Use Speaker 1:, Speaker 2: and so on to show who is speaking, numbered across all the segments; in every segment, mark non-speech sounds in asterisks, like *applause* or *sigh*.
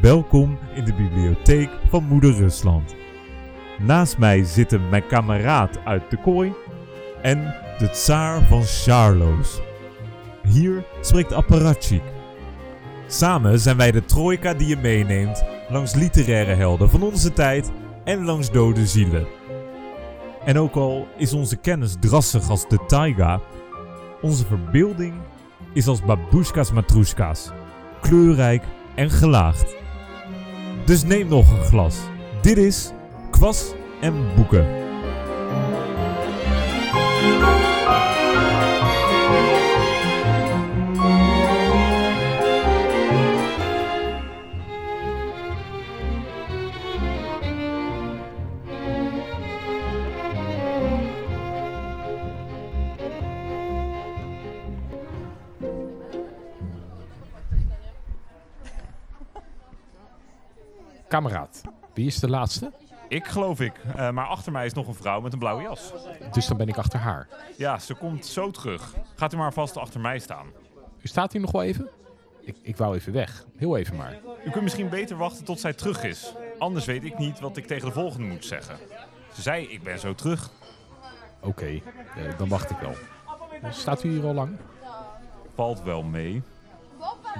Speaker 1: Welkom in de bibliotheek van Moeder Rusland. Naast mij zitten mijn kameraad uit de kooi en de tsaar van Charloes. Hier spreekt Apparatchik. Samen zijn wij de trojka die je meeneemt langs literaire helden van onze tijd en langs dode zielen. En ook al is onze kennis drassig als de taiga, onze verbeelding is als babushka's matroeska's, kleurrijk en gelaagd. Dus neem nog een glas. Dit is Kwas en Boeken.
Speaker 2: Kameraad, wie is de laatste?
Speaker 3: Ik geloof ik. Eh, maar achter mij is nog een vrouw met een blauwe jas.
Speaker 2: Dus dan ben ik achter haar.
Speaker 3: Ja, ze komt zo terug. Gaat u maar vast achter mij staan.
Speaker 2: U staat hier nog wel even? Ik, ik wou even weg. Heel even maar.
Speaker 3: U kunt misschien beter wachten tot zij terug is. Anders weet ik niet wat ik tegen de volgende moet zeggen. Ze zei, ik ben zo terug.
Speaker 2: Oké, eh, dan wacht ik wel. Staat u hier al lang?
Speaker 3: Valt wel mee.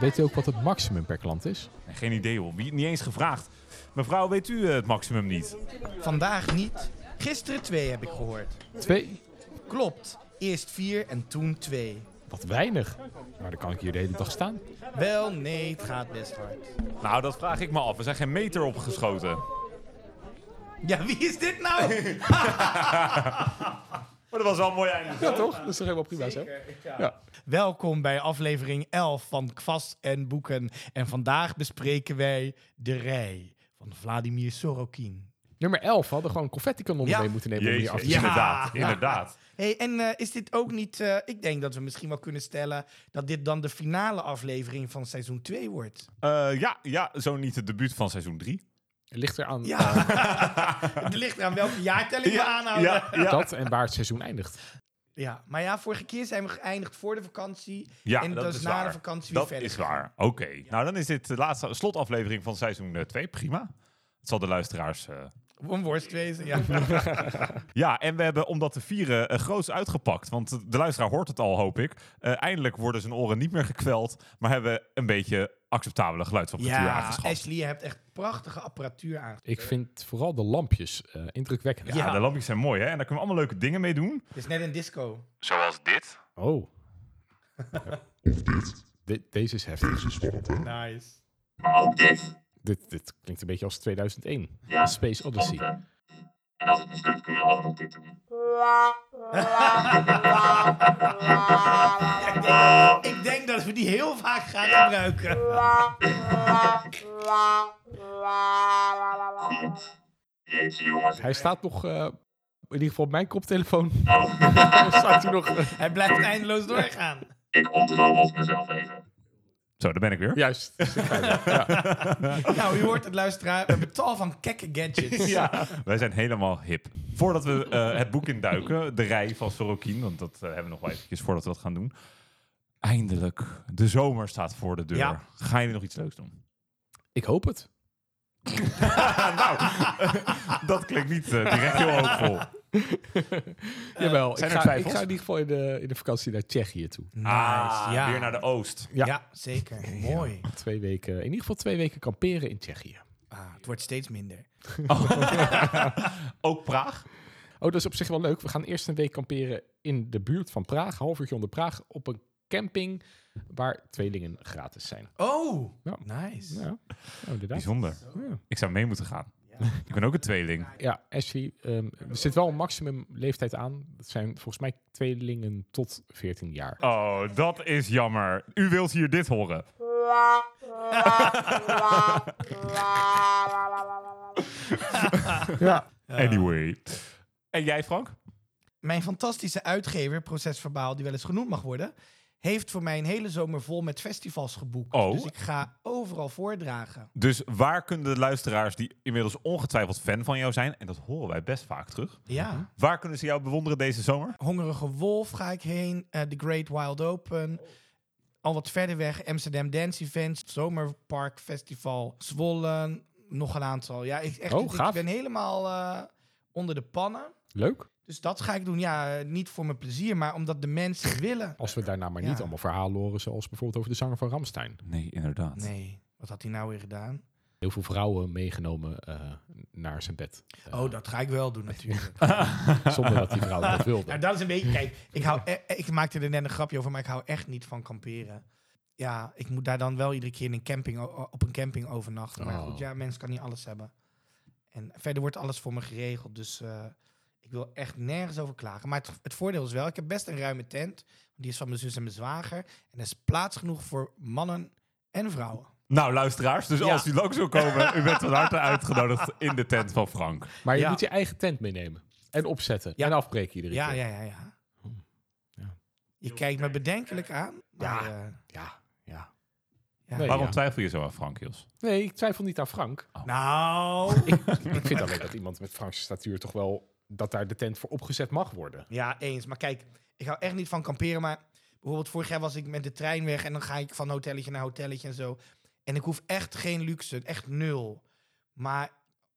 Speaker 2: Weet u ook wat het maximum per klant is?
Speaker 3: Nee, Geen idee hoor, Wie- niet eens gevraagd. Mevrouw, weet u eh, het maximum niet?
Speaker 4: Vandaag niet. Gisteren twee heb ik gehoord.
Speaker 2: Twee?
Speaker 4: Klopt. Eerst vier en toen twee.
Speaker 2: Wat weinig. Maar dan kan ik hier de hele dag staan.
Speaker 4: Wel, nee, het gaat best hard.
Speaker 3: Nou, dat vraag ik me af. We zijn geen meter opgeschoten.
Speaker 4: Ja, wie is dit nou?
Speaker 3: *laughs* Maar dat was wel een mooi einde.
Speaker 2: Ja toch? Dat is toch helemaal prima zo? Ja.
Speaker 4: Welkom bij aflevering 11 van Kwast en Boeken. En vandaag bespreken wij De Rij van Vladimir Sorokin.
Speaker 2: Nummer 11 hadden gewoon confetti kanonnen
Speaker 4: Ja.
Speaker 2: mee moeten nemen om
Speaker 3: Jezus,
Speaker 2: hier af te
Speaker 4: Ja.
Speaker 3: inderdaad, inderdaad.
Speaker 4: hey, en eh, is dit ook niet... eh, ik denk dat we misschien wel kunnen stellen... dat dit dan de finale aflevering van seizoen 2 wordt.
Speaker 3: Eh, ja, ja, zo niet het debuut van seizoen 3.
Speaker 2: Ligt eraan aan
Speaker 3: *laughs*
Speaker 4: Ja. *laughs* het ligt eraan welke jaartelling we aanhouden.
Speaker 3: ja, ja.
Speaker 2: dat en waar het seizoen eindigt.
Speaker 4: Ja, maar ja, vorige keer zijn we geëindigd voor de vakantie.
Speaker 3: Ja,
Speaker 4: en
Speaker 3: dat
Speaker 4: dus
Speaker 3: is
Speaker 4: na
Speaker 3: waar.
Speaker 4: de vakantie weer
Speaker 3: Dat
Speaker 4: verder.
Speaker 3: is waar. Oké. Nou, dan is dit de laatste slotaflevering van seizoen 2. Prima. Het zal de luisteraars. eh,
Speaker 4: Een
Speaker 3: *laughs*
Speaker 4: worstwezen, ja.
Speaker 3: Ja, en we hebben om dat te vieren eh, groots uitgepakt. Want de luisteraar hoort het al, hoop ik. Eh, eindelijk worden zijn oren niet meer gekweld. Maar hebben een beetje acceptabele geluidsapparatuur
Speaker 4: ja,
Speaker 3: aangeschaft.
Speaker 4: Ashley, je hebt echt prachtige apparatuur aan.
Speaker 2: Ik vind vooral de lampjes eh, indrukwekkend.
Speaker 3: Ja,
Speaker 4: ja.
Speaker 3: de lampjes zijn mooi, hè? En daar kunnen we allemaal leuke dingen mee doen.
Speaker 4: Het is net een disco.
Speaker 3: Zoals dit.
Speaker 2: Oh. Of dit. deze is heftig.
Speaker 4: Nice.
Speaker 5: Maar ook dit.
Speaker 2: Dit, dit klinkt een beetje als 2001.
Speaker 5: Ja.
Speaker 2: Space Odyssey.
Speaker 5: En als het mislukt kun je altijd nog dit doen.
Speaker 4: Ik denk dat we die heel vaak gaan
Speaker 3: *laughs*
Speaker 4: gebruiken.
Speaker 5: Goed. Jeetje jongens.
Speaker 2: Hij staat nog, eh, in ieder geval op mijn koptelefoon. staat hij nog. eh,
Speaker 4: Hij blijft eindeloos doorgaan.
Speaker 5: Ik ontroebel mezelf even.
Speaker 3: Zo, daar ben ik weer.
Speaker 2: juist. *laughs*
Speaker 4: Nou, u hoort het luisteraar. We hebben tal van kekke gadgets.
Speaker 3: Ja, wij zijn helemaal hip. Voordat we eh, het boek induiken, de rij van Sorokin, want dat eh, hebben we nog wel eventjes voordat we dat gaan doen. Eindelijk, de zomer staat voor de deur.
Speaker 4: Ja.
Speaker 3: Ga je nog iets leuks doen?
Speaker 2: Ik hoop het.
Speaker 3: Dat klinkt niet eh, direct *laughs* heel hoopvol.
Speaker 2: Jawel.
Speaker 3: Eh,
Speaker 2: Ik
Speaker 3: zijn er
Speaker 2: ga, ik
Speaker 3: twijfels?
Speaker 2: ga in ieder geval in de, in de vakantie naar Tsjechië toe.
Speaker 3: Ah,
Speaker 4: Nice, ja.
Speaker 3: weer naar de oost.
Speaker 2: Ja.
Speaker 4: Ja, zeker. Mooi.
Speaker 2: Twee weken, in ieder geval twee weken kamperen in Tsjechië.
Speaker 4: Ah, het wordt steeds minder.
Speaker 3: Ook Praag?
Speaker 2: Oh, dat is op zich wel leuk. We gaan eerst een week kamperen in de buurt van Praag. een Half uurtje onder Praag. Op een camping waar tweelingen gratis zijn.
Speaker 4: Oh,
Speaker 2: Ja.
Speaker 4: nice.
Speaker 2: Ja, oh, inderdaad.
Speaker 3: Bijzonder.
Speaker 2: Ja.
Speaker 3: Ik zou mee moeten gaan. Ik ben ook een tweeling.
Speaker 2: Ja, Ashley, ehm, er zit wel een maximum leeftijd aan. Dat zijn volgens mij tweelingen tot 14 jaar.
Speaker 3: Oh, dat is jammer. U wilt hier dit horen.
Speaker 2: Ja.
Speaker 3: Anyway. En jij, Frank?
Speaker 4: Mijn fantastische uitgever, Proces Verbaal, die wel eens genoemd mag worden, heeft voor mij een hele zomer vol met festivals geboekt.
Speaker 3: Oh.
Speaker 4: Dus ik ga overal voordragen.
Speaker 3: Dus waar kunnen de luisteraars, die inmiddels ongetwijfeld fan van jou zijn, en dat horen wij best vaak terug,
Speaker 4: Ja.
Speaker 3: waar kunnen ze jou bewonderen deze zomer?
Speaker 4: Hongerige Wolf ga ik heen. eh The Great Wild Open. al wat verder weg. Amsterdam Dance Events, Zomerpark Festival, Zwolle, nog een aantal. Ja, ik, echt,
Speaker 2: Oh,
Speaker 4: ik- ik
Speaker 2: gaaf.
Speaker 4: ben helemaal eh, onder de pannen.
Speaker 2: Leuk.
Speaker 4: Dus dat ga ik doen. Ja, eh, niet voor mijn plezier, maar omdat de mensen *laughs* willen.
Speaker 2: Als we daarna maar
Speaker 4: Ja.
Speaker 2: niet allemaal verhalen horen, zoals bijvoorbeeld over de zanger van Ramstein.
Speaker 3: Nee, inderdaad.
Speaker 4: Nee, wat had hij nou weer gedaan?
Speaker 2: Heel veel vrouwen meegenomen eh, naar zijn bed. Eh,
Speaker 4: Oh, dat ga ik wel doen natuurlijk.
Speaker 2: Zonder dat die vrouw dat
Speaker 4: *laughs*
Speaker 2: wilde.
Speaker 4: Nou, dat is een beetje. Kijk, ik, hou, e- e- ik maakte er net een grapje over, maar ik hou echt niet van kamperen. Ja, ik moet daar dan wel iedere keer in een camping, o- op een camping overnachten. Maar
Speaker 2: Oh.
Speaker 4: goed, ja, mens kan niet alles hebben. En verder wordt alles voor me geregeld. Dus eh, ik wil echt nergens over klagen. Maar het, het voordeel is wel, ik heb best een ruime tent. Die is van mijn zus en mijn zwager. En er is plaats genoeg voor mannen en vrouwen.
Speaker 3: Nou, luisteraars, dus
Speaker 4: Ja.
Speaker 3: als u langs wil komen, u bent van harte uitgenodigd in de tent van Frank.
Speaker 2: Maar je
Speaker 4: Ja.
Speaker 2: moet je eigen tent meenemen. En opzetten.
Speaker 4: Ja.
Speaker 2: En afbreken iedere
Speaker 4: Ja,
Speaker 2: keer. Oh,
Speaker 4: ja, ja, ja.
Speaker 2: Ja.
Speaker 4: Je kijkt me bedenkelijk aan. Maar, eh,
Speaker 2: ja, ja.
Speaker 4: ja.
Speaker 2: Nee.
Speaker 3: Waarom
Speaker 2: ja.
Speaker 3: twijfel je zo aan Frank, Jos?
Speaker 2: Nee, ik twijfel niet aan Frank. *laughs*
Speaker 4: eh, Nou,
Speaker 2: ik vind alleen dat iemand met Frankse statuur toch wel... dat daar de tent voor opgezet mag worden.
Speaker 4: Ja, eens. Maar kijk, ik hou echt niet van kamperen. Maar bijvoorbeeld vorig jaar was ik met de trein weg en dan ga ik van hotelletje naar hotelletje en zo. En ik hoef echt geen luxe, echt nul. Maar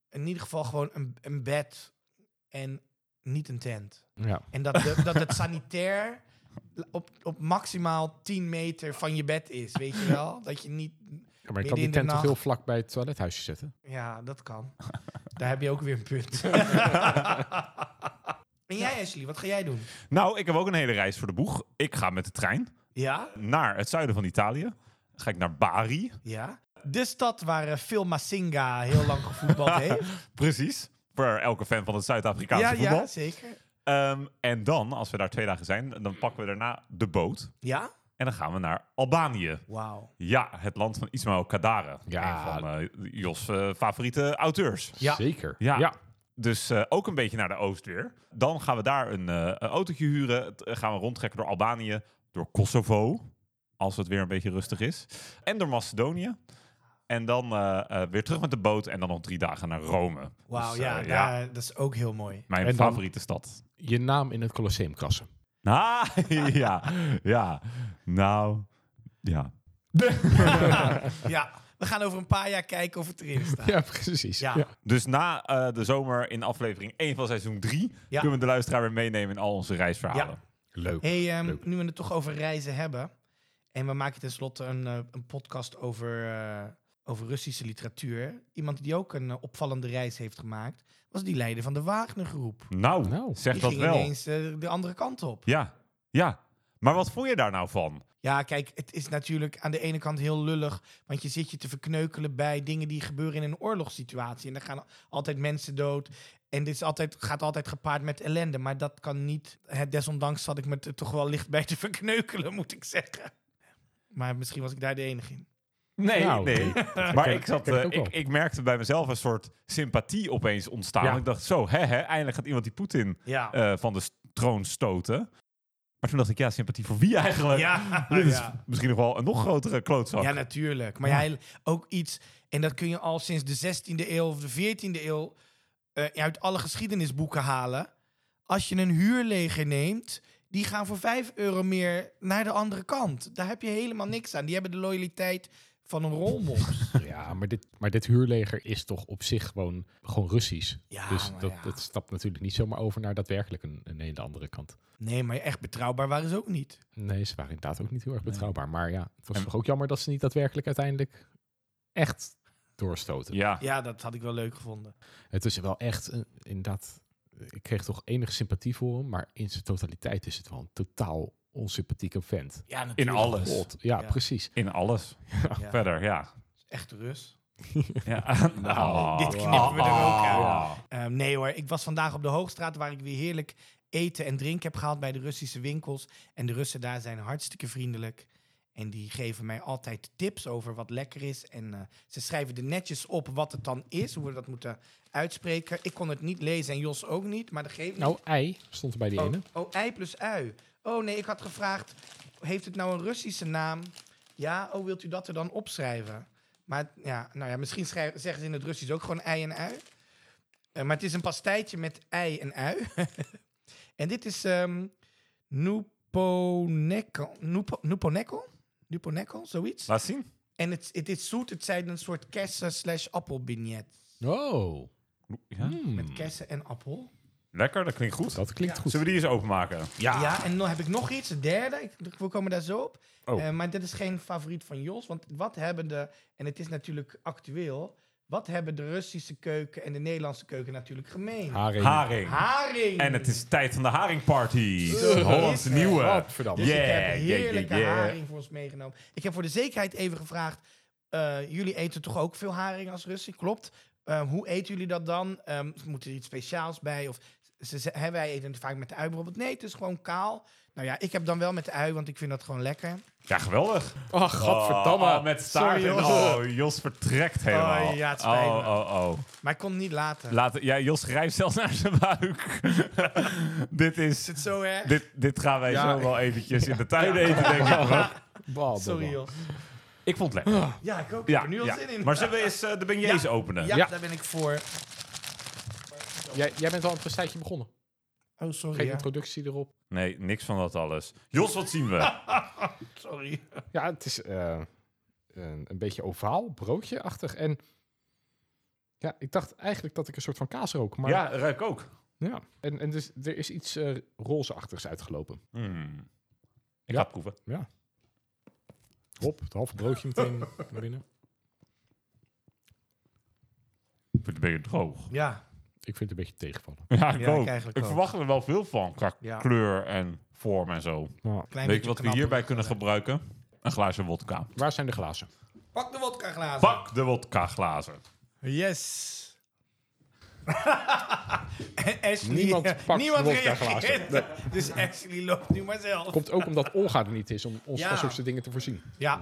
Speaker 4: in ieder geval gewoon een, een bed en niet een tent.
Speaker 2: Ja.
Speaker 4: En dat, de- dat het sanitair op, op maximaal 10 meter van je bed is, weet je wel? Dat je niet...
Speaker 2: maar je
Speaker 4: Midden
Speaker 2: kan die
Speaker 4: in de
Speaker 2: tent toch
Speaker 4: nacht.
Speaker 2: heel vlak bij het toilethuisje zetten?
Speaker 4: Ja, dat kan. Daar heb je ook weer een punt. en jij, Ashley, wat ga jij doen?
Speaker 3: Nou, ik heb ook een hele reis voor de boeg. Ik ga met de trein
Speaker 4: Ja?
Speaker 3: naar het zuiden van Italië. Ga ik naar Bari.
Speaker 4: Ja. De stad waar eh, Phil Massinga heel lang gevoetbald heeft.
Speaker 3: Precies. Voor elke fan van het Zuid-Afrikaanse
Speaker 4: ja,
Speaker 3: voetbal.
Speaker 4: ja, zeker.
Speaker 3: Ehm, en dan, als we daar twee dagen zijn, dan pakken we daarna de boot.
Speaker 4: Ja?
Speaker 3: En dan gaan we naar Albanië.
Speaker 4: Wauw.
Speaker 3: Ja, het land van Ismail Kadare.
Speaker 2: Ja.
Speaker 3: Een van eh, Jos' eh, favoriete auteurs.
Speaker 4: Ja.
Speaker 2: Zeker.
Speaker 3: Ja. Dus eh, ook een beetje naar de oost weer. Dan gaan we daar een, eh, een autootje huren. T- eh, gaan we rondtrekken door Albanië, door Kosovo. Als het weer een beetje rustig is. En door Macedonië. En dan eh, eh, weer terug met de boot. En dan nog drie dagen naar Rome.
Speaker 4: Wauw,
Speaker 3: Dus, eh,
Speaker 4: ja, daar- dat is ook heel mooi.
Speaker 3: Mijn
Speaker 2: En dan-
Speaker 3: favoriete stad.
Speaker 2: Je naam in het Colosseum krassen.
Speaker 3: Ah, *laughs* ja. Ja. Nou, ja.
Speaker 4: Ja, we gaan over een paar jaar kijken of het erin staat.
Speaker 2: *laughs* Ja, precies.
Speaker 4: Ja.
Speaker 3: Dus na eh, de zomer in aflevering 1 van seizoen 3...
Speaker 4: Ja.
Speaker 3: kunnen we de luisteraar weer meenemen in al onze reisverhalen.
Speaker 2: Leuk.
Speaker 4: hey, ehm,
Speaker 2: Leuk.
Speaker 4: nu we het toch over reizen hebben. En we maken tenslotte een, eh, een podcast over, eh, over Russische literatuur. Iemand die ook een eh, opvallende reis heeft gemaakt, was die leider van de Wagnergroep.
Speaker 3: Nou,
Speaker 2: Nou.
Speaker 3: zeg
Speaker 4: die
Speaker 3: dat
Speaker 4: ging
Speaker 3: wel.
Speaker 4: ineens eh, de andere kant op.
Speaker 3: Ja, ja. Maar wat vond je daar nou van?
Speaker 4: Ja, kijk, het is natuurlijk aan de ene kant heel lullig. Want je zit je te verkneukelen bij dingen die gebeuren in een oorlogssituatie. En er gaan altijd mensen dood. En dit is altijd, gaat altijd gepaard met ellende. Maar dat kan niet. Het, desondanks zat ik me er toch wel licht bij te verkneukelen, moet ik zeggen. Maar misschien was ik daar de enige in.
Speaker 3: Nee,
Speaker 2: Nou, *laughs*
Speaker 3: nee.
Speaker 2: dat
Speaker 3: Maar
Speaker 2: herken-
Speaker 3: ik, zat,
Speaker 2: herken
Speaker 3: eh,
Speaker 2: ook
Speaker 3: ik,
Speaker 2: wel.
Speaker 3: ik merkte bij mezelf een soort sympathie opeens ontstaan.
Speaker 2: Ja.
Speaker 3: Ik dacht zo, hè, hè, eindelijk gaat iemand die Poetin
Speaker 4: Ja.
Speaker 3: eh, van de s- troon stoten. Maar toen dacht ik, ja, sympathie voor wie eigenlijk? *laughs*
Speaker 4: ja,
Speaker 3: Dit is
Speaker 4: ja.
Speaker 3: misschien nog wel een nog grotere klootzak.
Speaker 4: Ja, natuurlijk. Maar jij ook iets. En dat kun je al sinds de 16e eeuw of de 14e eeuw eh, uit alle geschiedenisboeken halen. Als je een huurleger neemt, die gaan voor 5 euro meer naar de andere kant. Daar heb je helemaal niks aan. Die hebben de loyaliteit van een rolmond.
Speaker 2: *laughs* Ja, maar dit, maar dit huurleger is toch op zich gewoon, gewoon Russisch.
Speaker 4: Ja,
Speaker 2: dus
Speaker 4: maar
Speaker 2: dat,
Speaker 4: ja.
Speaker 2: dat stapt natuurlijk niet zomaar over naar daadwerkelijk een, een hele andere kant.
Speaker 4: Nee, maar echt betrouwbaar waren ze ook niet.
Speaker 2: Nee, ze waren inderdaad ook niet heel erg betrouwbaar. Maar ja, het was toch ook jammer dat ze niet daadwerkelijk uiteindelijk echt doorstoten.
Speaker 3: Ja.
Speaker 4: Ja, dat had ik wel leuk gevonden.
Speaker 2: Het is wel echt, een- inderdaad, ik kreeg toch enige sympathie voor hem. Maar in zijn totaliteit is het wel een totaal onsympathieke vent.
Speaker 4: Ja, natuurlijk.
Speaker 3: In alles.
Speaker 2: God, ja,
Speaker 4: Ja.
Speaker 2: precies.
Speaker 3: In alles.
Speaker 4: Ja.
Speaker 3: Verder,
Speaker 4: *laughs*
Speaker 3: ja.
Speaker 4: Echt rust.
Speaker 3: ja. *laughs* Nou.
Speaker 4: dit knippen we er ook uit. Ehm, nee hoor, ik was vandaag op de Hoogstraat waar ik weer heerlijk eten en drinken heb gehaald bij de Russische winkels. En de Russen daar zijn hartstikke vriendelijk. En die geven mij altijd tips over wat lekker is. En eh, ze schrijven er netjes op wat het dan is, hoe we dat moeten uitspreken. Ik kon het niet lezen en Jos ook niet, maar dat geeft niet.
Speaker 2: Nou, ei stond er bij die
Speaker 4: Oh,
Speaker 2: ene.
Speaker 4: oh, ei plus ui. Oh nee, ik had gevraagd, heeft het nou een Russische naam? Ja, oh, wilt u dat er dan opschrijven? Maar ja, nou ja, misschien schrijven, zeggen ze in het Russisch ook gewoon ei en ui. Eh, maar het is een pastijtje met ei en ui. *laughs* en dit is ehm Nuponeko. Nupo- Nuponeko? Duponecco, zoiets.
Speaker 3: Laat zien.
Speaker 4: En het, het is zoet. Het zijn een soort kersen slash appelbignet.
Speaker 2: Oh,
Speaker 3: Ja.
Speaker 4: Met kersen en appel.
Speaker 3: Lekker, dat klinkt goed.
Speaker 2: dat klinkt goed.
Speaker 3: Zullen we die eens openmaken?
Speaker 4: Ja, en dan heb ik nog iets. Een derde. Ik, we komen daar zo op.
Speaker 3: Oh.
Speaker 4: Eh, maar dit is geen favoriet van Jos. Want wat hebben de... En het is natuurlijk actueel. Wat hebben de Russische keuken en de Nederlandse keuken natuurlijk gemeen?
Speaker 2: Haring.
Speaker 3: Haring.
Speaker 4: Haring!
Speaker 3: En het is tijd van de haringparty.
Speaker 4: Zo is
Speaker 3: Hollandse
Speaker 4: het.
Speaker 3: nieuwe.
Speaker 2: Godverdamme.
Speaker 4: Dus ik
Speaker 3: Yeah,
Speaker 4: heb
Speaker 3: yeah, yeah,
Speaker 4: heerlijke
Speaker 3: yeah.
Speaker 4: haring voor ons meegenomen. Ik heb voor de zekerheid even gevraagd... eh, jullie eten toch ook veel haring als Russen? Klopt. Eh, hoe eten jullie dat dan? Ehm moet er iets speciaals bij? Of ze, ze- hè, wij eten het vaak met de ui bijvoorbeeld. Nee, het is gewoon kaal. Nou ja, ik heb dan wel met de ui, want ik vind dat gewoon lekker.
Speaker 3: Ja, geweldig.
Speaker 2: Oh, godverdamme.
Speaker 3: Oh, met staart.
Speaker 4: Sorry,
Speaker 3: en-
Speaker 4: Jos.
Speaker 3: Oh, Jos vertrekt helemaal.
Speaker 4: Oh, ja, het spijt
Speaker 3: oh,
Speaker 4: me.
Speaker 3: oh, oh.
Speaker 4: Maar ik kon het niet laten.
Speaker 3: Laat, ja, Jos grijpt zelfs naar zijn
Speaker 4: *laughs*
Speaker 3: buik. dit is...
Speaker 4: is het zo erg?
Speaker 3: Dit, dit gaan wij
Speaker 2: Ja,
Speaker 3: zo wel eventjes in de tuin eten, denk ik. hoor.
Speaker 2: Bal,
Speaker 4: Sorry, joh.
Speaker 3: Ik vond het lekker.
Speaker 4: Ja, ik ook. Ik
Speaker 3: Ja,
Speaker 4: heb er nu al
Speaker 3: ja.
Speaker 4: zin in.
Speaker 3: Maar zullen we eens eh, de beignets
Speaker 4: Ja.
Speaker 3: openen?
Speaker 4: ja,
Speaker 2: Ja.
Speaker 4: daar ben ik voor.
Speaker 2: Jij, jij bent al een prestijtje begonnen.
Speaker 4: Oh, sorry.
Speaker 2: Geen
Speaker 4: ja.
Speaker 2: introductie erop.
Speaker 3: Nee, niks van dat alles. Jos, wat zien we?
Speaker 4: Sorry.
Speaker 2: Ja, het is eh, een, een beetje ovaal, broodje-achtig. En ja, ik dacht eigenlijk dat ik een soort van kaas rook. Maar
Speaker 3: Ja, ruik ook.
Speaker 2: Ja, en, en dus, er is iets eh rozeachtigs uitgelopen.
Speaker 3: Hmm. Ik
Speaker 2: Ja.
Speaker 3: ga het proeven.
Speaker 2: Hop, het halve broodje *laughs* meteen naar binnen.
Speaker 3: Ik vind het een beetje droog.
Speaker 4: Ja,
Speaker 2: Ik vind het een beetje tegenvallen.
Speaker 3: Ja, ik
Speaker 4: Ja,
Speaker 3: ook.
Speaker 4: ik
Speaker 3: Ik,
Speaker 4: eigenlijk ook.
Speaker 3: verwacht er wel veel van qua
Speaker 4: Ja.
Speaker 3: kleur en vorm en zo.
Speaker 2: Nou,
Speaker 4: klein
Speaker 3: Weet je
Speaker 4: beetje
Speaker 3: wat we
Speaker 4: knapperig.
Speaker 3: hierbij kunnen gebruiken? Een glaasje wodka.
Speaker 2: waar zijn de glazen?
Speaker 4: Pak de wodka glazen.
Speaker 3: Pak de wodka glazen.
Speaker 4: Yes. *laughs* En Ashley,
Speaker 2: Niemand
Speaker 4: eh,
Speaker 2: pakt
Speaker 4: *laughs* niemand
Speaker 2: wodka glazen.
Speaker 4: reageert. *laughs* Dus Ashley loopt nu maar zelf.
Speaker 2: Komt ook omdat Olga er niet is om ons
Speaker 4: Ja.
Speaker 2: van zulke dingen te voorzien.
Speaker 4: Ja.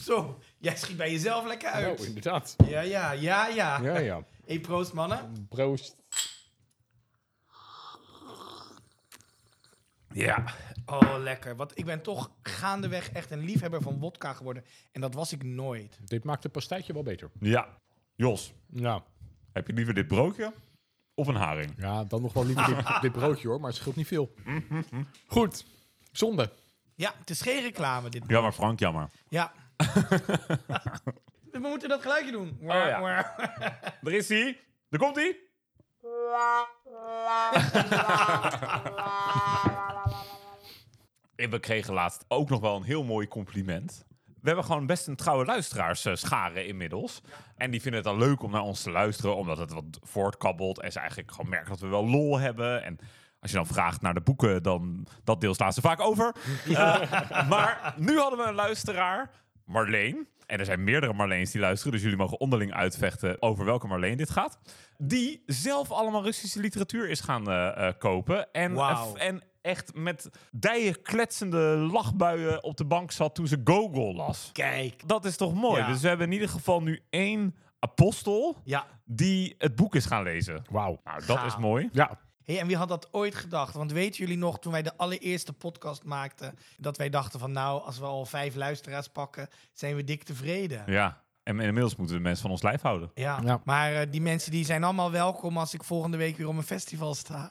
Speaker 4: Zo, jij schiet bij jezelf lekker uit.
Speaker 2: Oh, inderdaad.
Speaker 4: ja, ja, ja, ja.
Speaker 2: Ja, ja.
Speaker 4: Hey, proost mannen.
Speaker 2: Proost.
Speaker 3: Ja.
Speaker 4: Oh, lekker. Want ik ben toch gaandeweg echt een liefhebber van wodka geworden. En dat was ik nooit.
Speaker 2: Dit maakt het pastijtje wel beter.
Speaker 3: Ja. Jos,
Speaker 2: Ja,
Speaker 3: heb je liever dit broodje of een haring?
Speaker 2: ja dan nog wel liever
Speaker 4: *laughs*
Speaker 2: dit, dit broodje hoor, maar het scheelt niet veel.
Speaker 4: Mhm.
Speaker 2: Goed, zonde.
Speaker 4: Ja, het is geen reclame dit.
Speaker 3: Ja, maar Frank, jammer.
Speaker 4: Ja. We moeten dat geluidje doen.
Speaker 3: ja. Er is hij. Daar komt hij. En we kregen laatst ook nog wel een heel mooi compliment. We hebben gewoon best een trouwe luisteraars eh, scharen inmiddels. En die vinden het dan leuk om naar ons te luisteren, omdat het wat voortkabbelt. En ze eigenlijk gewoon merken dat we wel lol hebben. En als je dan vraagt naar de boeken, dan dat deel slaan ze vaak over. Eh, maar nu hadden we een luisteraar, Marleen. En er zijn meerdere Marleens die luisteren, dus jullie mogen onderling uitvechten over welke Marleen dit gaat. Die zelf allemaal Russische literatuur is gaan eh, eh, kopen. En,
Speaker 4: Wauw.
Speaker 3: en echt met dijen kletsende lachbuien op de bank zat toen ze Gogol las.
Speaker 4: Kijk.
Speaker 3: Dat is toch mooi?
Speaker 4: Ja.
Speaker 3: Dus we hebben in ieder geval nu één apostel
Speaker 4: Ja.
Speaker 3: die het boek is gaan lezen.
Speaker 2: Wauw.
Speaker 3: Nou, dat
Speaker 4: Gaaf.
Speaker 3: is mooi.
Speaker 2: Ja,
Speaker 4: Hey, en wie had dat ooit gedacht? Want weten jullie nog, toen wij de allereerste podcast maakten, dat wij dachten van nou, als we al vijf luisteraars pakken, zijn we dik tevreden. Ja.
Speaker 3: Ja, en inmiddels moeten de mensen van ons lijf houden.
Speaker 2: Ja.
Speaker 4: maar eh, die mensen die zijn allemaal welkom als ik volgende week weer op een festival sta.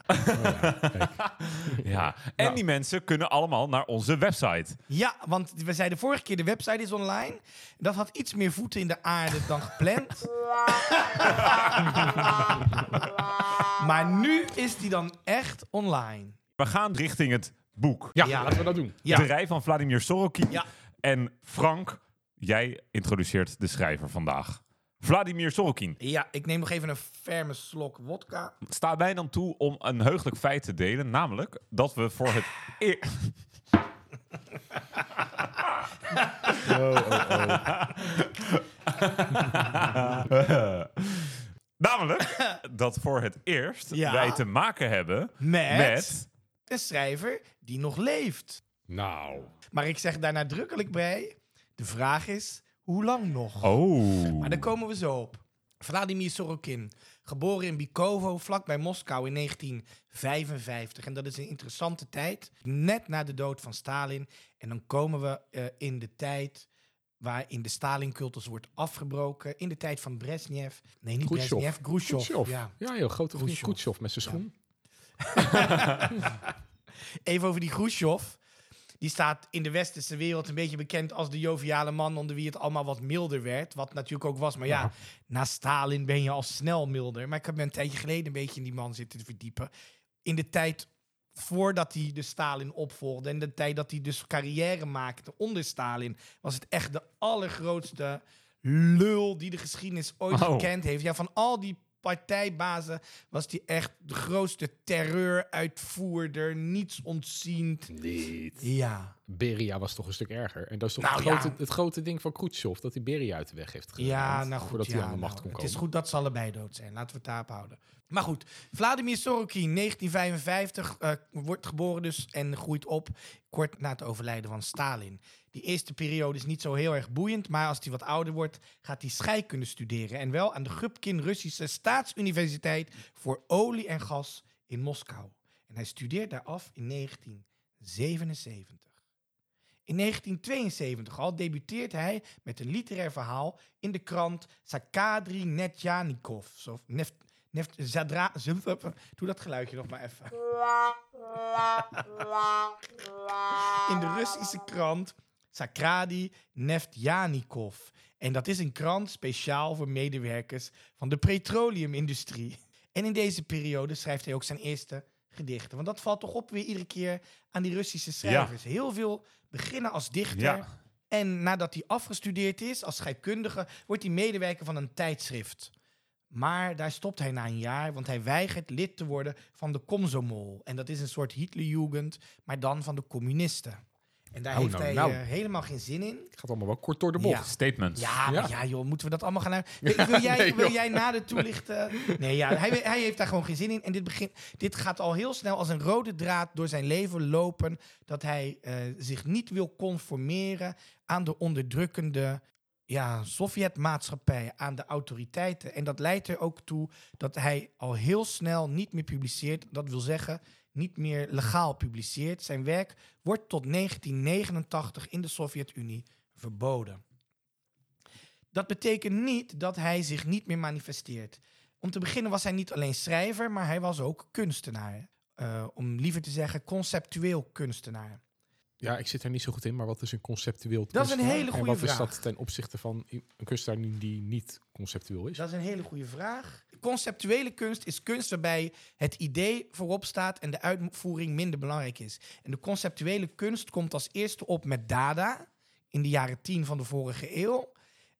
Speaker 3: Ja. En die mensen kunnen allemaal naar onze website.
Speaker 4: Ja, want we zeiden vorige keer, de website is online. Dat had iets meer voeten in de aarde dan gepland. *laughs* maar nu is die dan echt online.
Speaker 3: We gaan richting het boek.
Speaker 2: ja,
Speaker 4: Ja.
Speaker 2: laten we dat doen.
Speaker 4: Ja.
Speaker 3: De rij van Vladimir Sorokin.
Speaker 4: Ja.
Speaker 3: En Frank, jij introduceert de schrijver vandaag. Vladimir Sorokin.
Speaker 4: Ja, ik neem nog even een ferme slok wodka.
Speaker 3: Sta mij dan toe om een heugelijk feit te delen. Namelijk dat we voor het *laughs* eer- Namelijk dat voor het eerst
Speaker 4: Ja.
Speaker 3: wij te maken hebben
Speaker 4: Met?
Speaker 3: met
Speaker 4: Een schrijver die nog leeft.
Speaker 2: Nou,
Speaker 4: Maar ik zeg daar nadrukkelijk bij, de vraag is, hoe lang nog?
Speaker 3: Oh.
Speaker 4: Maar daar komen we zo op. Vladimir Sorokin, geboren in Bikovo, vlakbij Moskou in 1955. En dat is een interessante tijd, net na de dood van Stalin. En dan komen we eh, in de tijd waarin de Stalin-cultus wordt afgebroken. In de tijd van Brezhnev. Nee, niet
Speaker 2: Khrushchev.
Speaker 4: Brezhnev, Khrushchev.
Speaker 2: Khrushchev.
Speaker 4: Ja.
Speaker 2: Ja, heel grote vriend
Speaker 4: Khrushchev.
Speaker 2: Khrushchev met zijn schoen.
Speaker 4: Even over die Khrushchev. Die staat in de westerse wereld een beetje bekend als de joviale man onder wie het allemaal wat milder werd. Wat natuurlijk ook was. Maar ja, na Stalin ben je al snel milder. Maar ik heb me een tijdje geleden een beetje in die man zitten verdiepen. In de tijd voordat hij de Stalin opvolgde en de tijd dat hij dus carrière maakte onder Stalin, was het echt de allergrootste lul die de geschiedenis ooit
Speaker 3: Oh.
Speaker 4: gekend heeft. Ja, van al die partijbazen was hij echt de grootste terreuruitvoerder, niets ontziend.
Speaker 2: Niet.
Speaker 4: Ja,
Speaker 2: Beria was toch een stuk erger. En dat is toch
Speaker 4: Nou,
Speaker 2: het, grote,
Speaker 4: ja.
Speaker 2: het grote ding van Khrushchev, dat hij Beria uit de weg heeft geruimd.
Speaker 4: ja nou goed.
Speaker 2: Voordat
Speaker 4: Ja,
Speaker 2: hij aan de macht
Speaker 4: nou,
Speaker 2: kon komen.
Speaker 4: Het is goed dat ze allebei dood zijn. Laten we het daarop houden. Maar goed, Vladimir Sorokin, 1955, eh, wordt geboren dus en groeit op kort na het overlijden van Stalin. Die eerste periode is niet zo heel erg boeiend, maar als hij wat ouder wordt, gaat hij scheikunde studeren. En wel aan de Gubkin Russische Staatsuniversiteit voor olie en gas in Moskou. En hij studeert daar af in 1977. In 1972 al debuteert hij met een literair verhaal in de krant Sakadri Netjanikov. Zo, nef, nef, zadra, *laughs* zump- doe dat geluidje nog maar even. In de Russische krant Sakradi Neftjanikov. En dat is een krant speciaal voor medewerkers van de petroleumindustrie. En in deze periode schrijft hij ook zijn eerste gedichten. Want dat valt toch op weer iedere keer aan die Russische schrijvers. Heel veel beginnen als dichter.
Speaker 3: Ja.
Speaker 4: En nadat hij afgestudeerd is als scheikundige, wordt hij medewerker van een tijdschrift. Maar daar stopt hij na een jaar, want hij weigert lid te worden van de Komsomol. En dat is een soort Hitlerjugend, maar dan van de communisten. En daar
Speaker 2: Nou,
Speaker 4: heeft
Speaker 2: nou,
Speaker 4: hij
Speaker 2: nou.
Speaker 4: eh, helemaal geen zin in.
Speaker 2: Het gaat allemaal wel kort door de bocht.
Speaker 4: Ja.
Speaker 3: Statements.
Speaker 4: Ja, maar
Speaker 2: Ja.
Speaker 4: ja, joh, moeten we dat allemaal
Speaker 2: *laughs*
Speaker 4: gaan... uit- Wil, wil jij,
Speaker 2: Nee,
Speaker 4: wil
Speaker 2: joh.
Speaker 4: jij na de toelichten... Nee, ja, hij, hij heeft daar gewoon geen zin in. En dit, begint, dit gaat al heel snel als een rode draad door zijn leven lopen... dat hij eh, zich niet wil conformeren aan de onderdrukkende ja, Sovjetmaatschappij... aan de autoriteiten. En dat leidt er ook toe dat hij al heel snel niet meer publiceert. Dat wil zeggen, niet meer legaal publiceert. Zijn werk wordt tot 1989 in de Sovjet-Unie verboden. Dat betekent niet dat hij zich niet meer manifesteert. Om te beginnen was hij niet alleen schrijver, maar hij was ook kunstenaar. Eh, om liever te zeggen, conceptueel kunstenaar.
Speaker 2: Ja, ik zit er niet zo goed in, maar wat is een conceptueel
Speaker 4: Dat is een
Speaker 2: kunstenaar?
Speaker 4: hele
Speaker 2: En
Speaker 4: goede
Speaker 2: wat
Speaker 4: vraag.
Speaker 2: is dat ten opzichte van i- een kunstenaar die- die niet conceptueel is?
Speaker 4: Dus Dat is een hele goede vraag. Conceptuele kunst is kunst waarbij het idee voorop staat en de uitvoering minder belangrijk is. En de conceptuele kunst komt als eerste op met Dada in de jaren 10 van de vorige eeuw.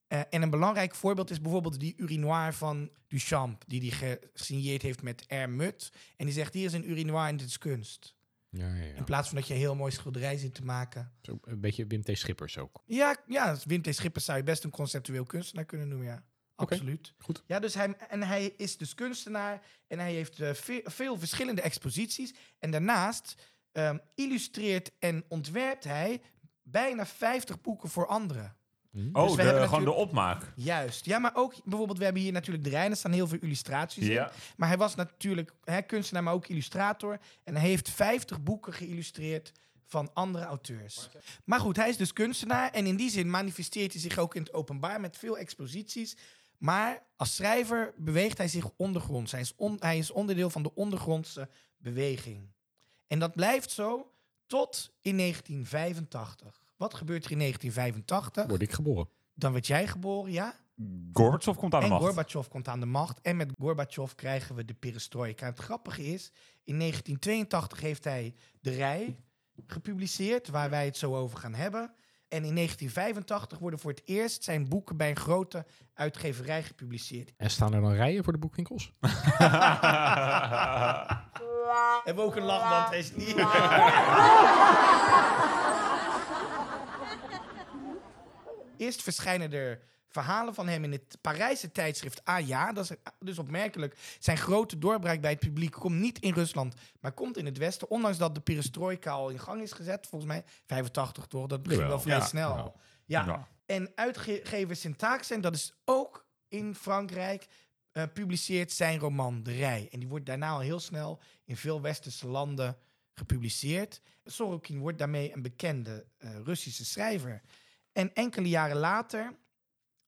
Speaker 4: Eh, en een belangrijk voorbeeld is bijvoorbeeld die urinoir van Duchamp, die hij gesigneerd heeft met R. Mut. En die zegt: Hier is een urinoir en dit is kunst.
Speaker 2: Ja, ja,
Speaker 4: In plaats van dat je een heel mooi schilderij zit te maken.
Speaker 2: Zo, een beetje Wim T. Schippers ook.
Speaker 4: Ja, ja Wim T. Schippers zou je best een conceptueel kunstenaar kunnen noemen, ja.
Speaker 2: Oké,
Speaker 4: Absoluut.
Speaker 2: goed.
Speaker 4: Ja, dus hij, en hij is dus kunstenaar en hij heeft eh, ve- veel verschillende exposities. En daarnaast ehm, illustreert en ontwerpt hij bijna 50 boeken voor anderen.
Speaker 3: Oh,
Speaker 4: dus we
Speaker 3: de-
Speaker 4: hebben
Speaker 3: gewoon de
Speaker 4: natuurlijk-
Speaker 3: opmaak.
Speaker 4: Juist. Ja, maar ook bijvoorbeeld, we hebben hier natuurlijk de Rijn, er staan heel veel illustraties in.
Speaker 3: Ja.
Speaker 4: Maar hij was natuurlijk hè, kunstenaar, maar ook illustrator. En hij heeft 50 boeken geïllustreerd van andere auteurs. Maar goed, hij is dus kunstenaar. En in die zin manifesteert hij zich ook in het openbaar met veel exposities. Maar als schrijver beweegt hij zich ondergronds. Hij is, on- hij is onderdeel van de ondergrondse beweging. En dat blijft zo tot in 1985. Wat gebeurt er in 1985?
Speaker 2: Word ik geboren.
Speaker 4: Dan werd jij geboren, ja?
Speaker 3: Gorbachev komt aan de
Speaker 4: en
Speaker 3: macht.
Speaker 4: Gorbachev komt aan de macht. En met Gorbachev krijgen we de perestroika. Het grappige is, in 1982 heeft hij De Rij gepubliceerd, waar wij het zo over gaan hebben. En in 1985 worden voor het eerst zijn boeken bij een grote uitgeverij gepubliceerd.
Speaker 2: En staan er dan rijen voor de boekwinkels?
Speaker 4: Hebben we ook een lachband, hij is niet... *laughs* Eerst verschijnen er verhalen van hem in het Parijse tijdschrift AJA. Dat is dus opmerkelijk. Zijn grote doorbraak bij het publiek komt niet in Rusland, maar komt in het Westen. Ondanks dat de perestroika al in gang is gezet, volgens mij 85 toch? Dat begint
Speaker 2: Jawel.
Speaker 4: wel vrij
Speaker 3: Ja.
Speaker 4: snel.
Speaker 2: Ja.
Speaker 4: Ja.
Speaker 3: Ja.
Speaker 4: En uitgever Syntax, en dat is ook in Frankrijk, eh, publiceert zijn roman De Rij. En die wordt daarna al heel snel in veel westerse landen gepubliceerd. Sorokin wordt daarmee een bekende eh, Russische schrijver. En enkele jaren later, eh,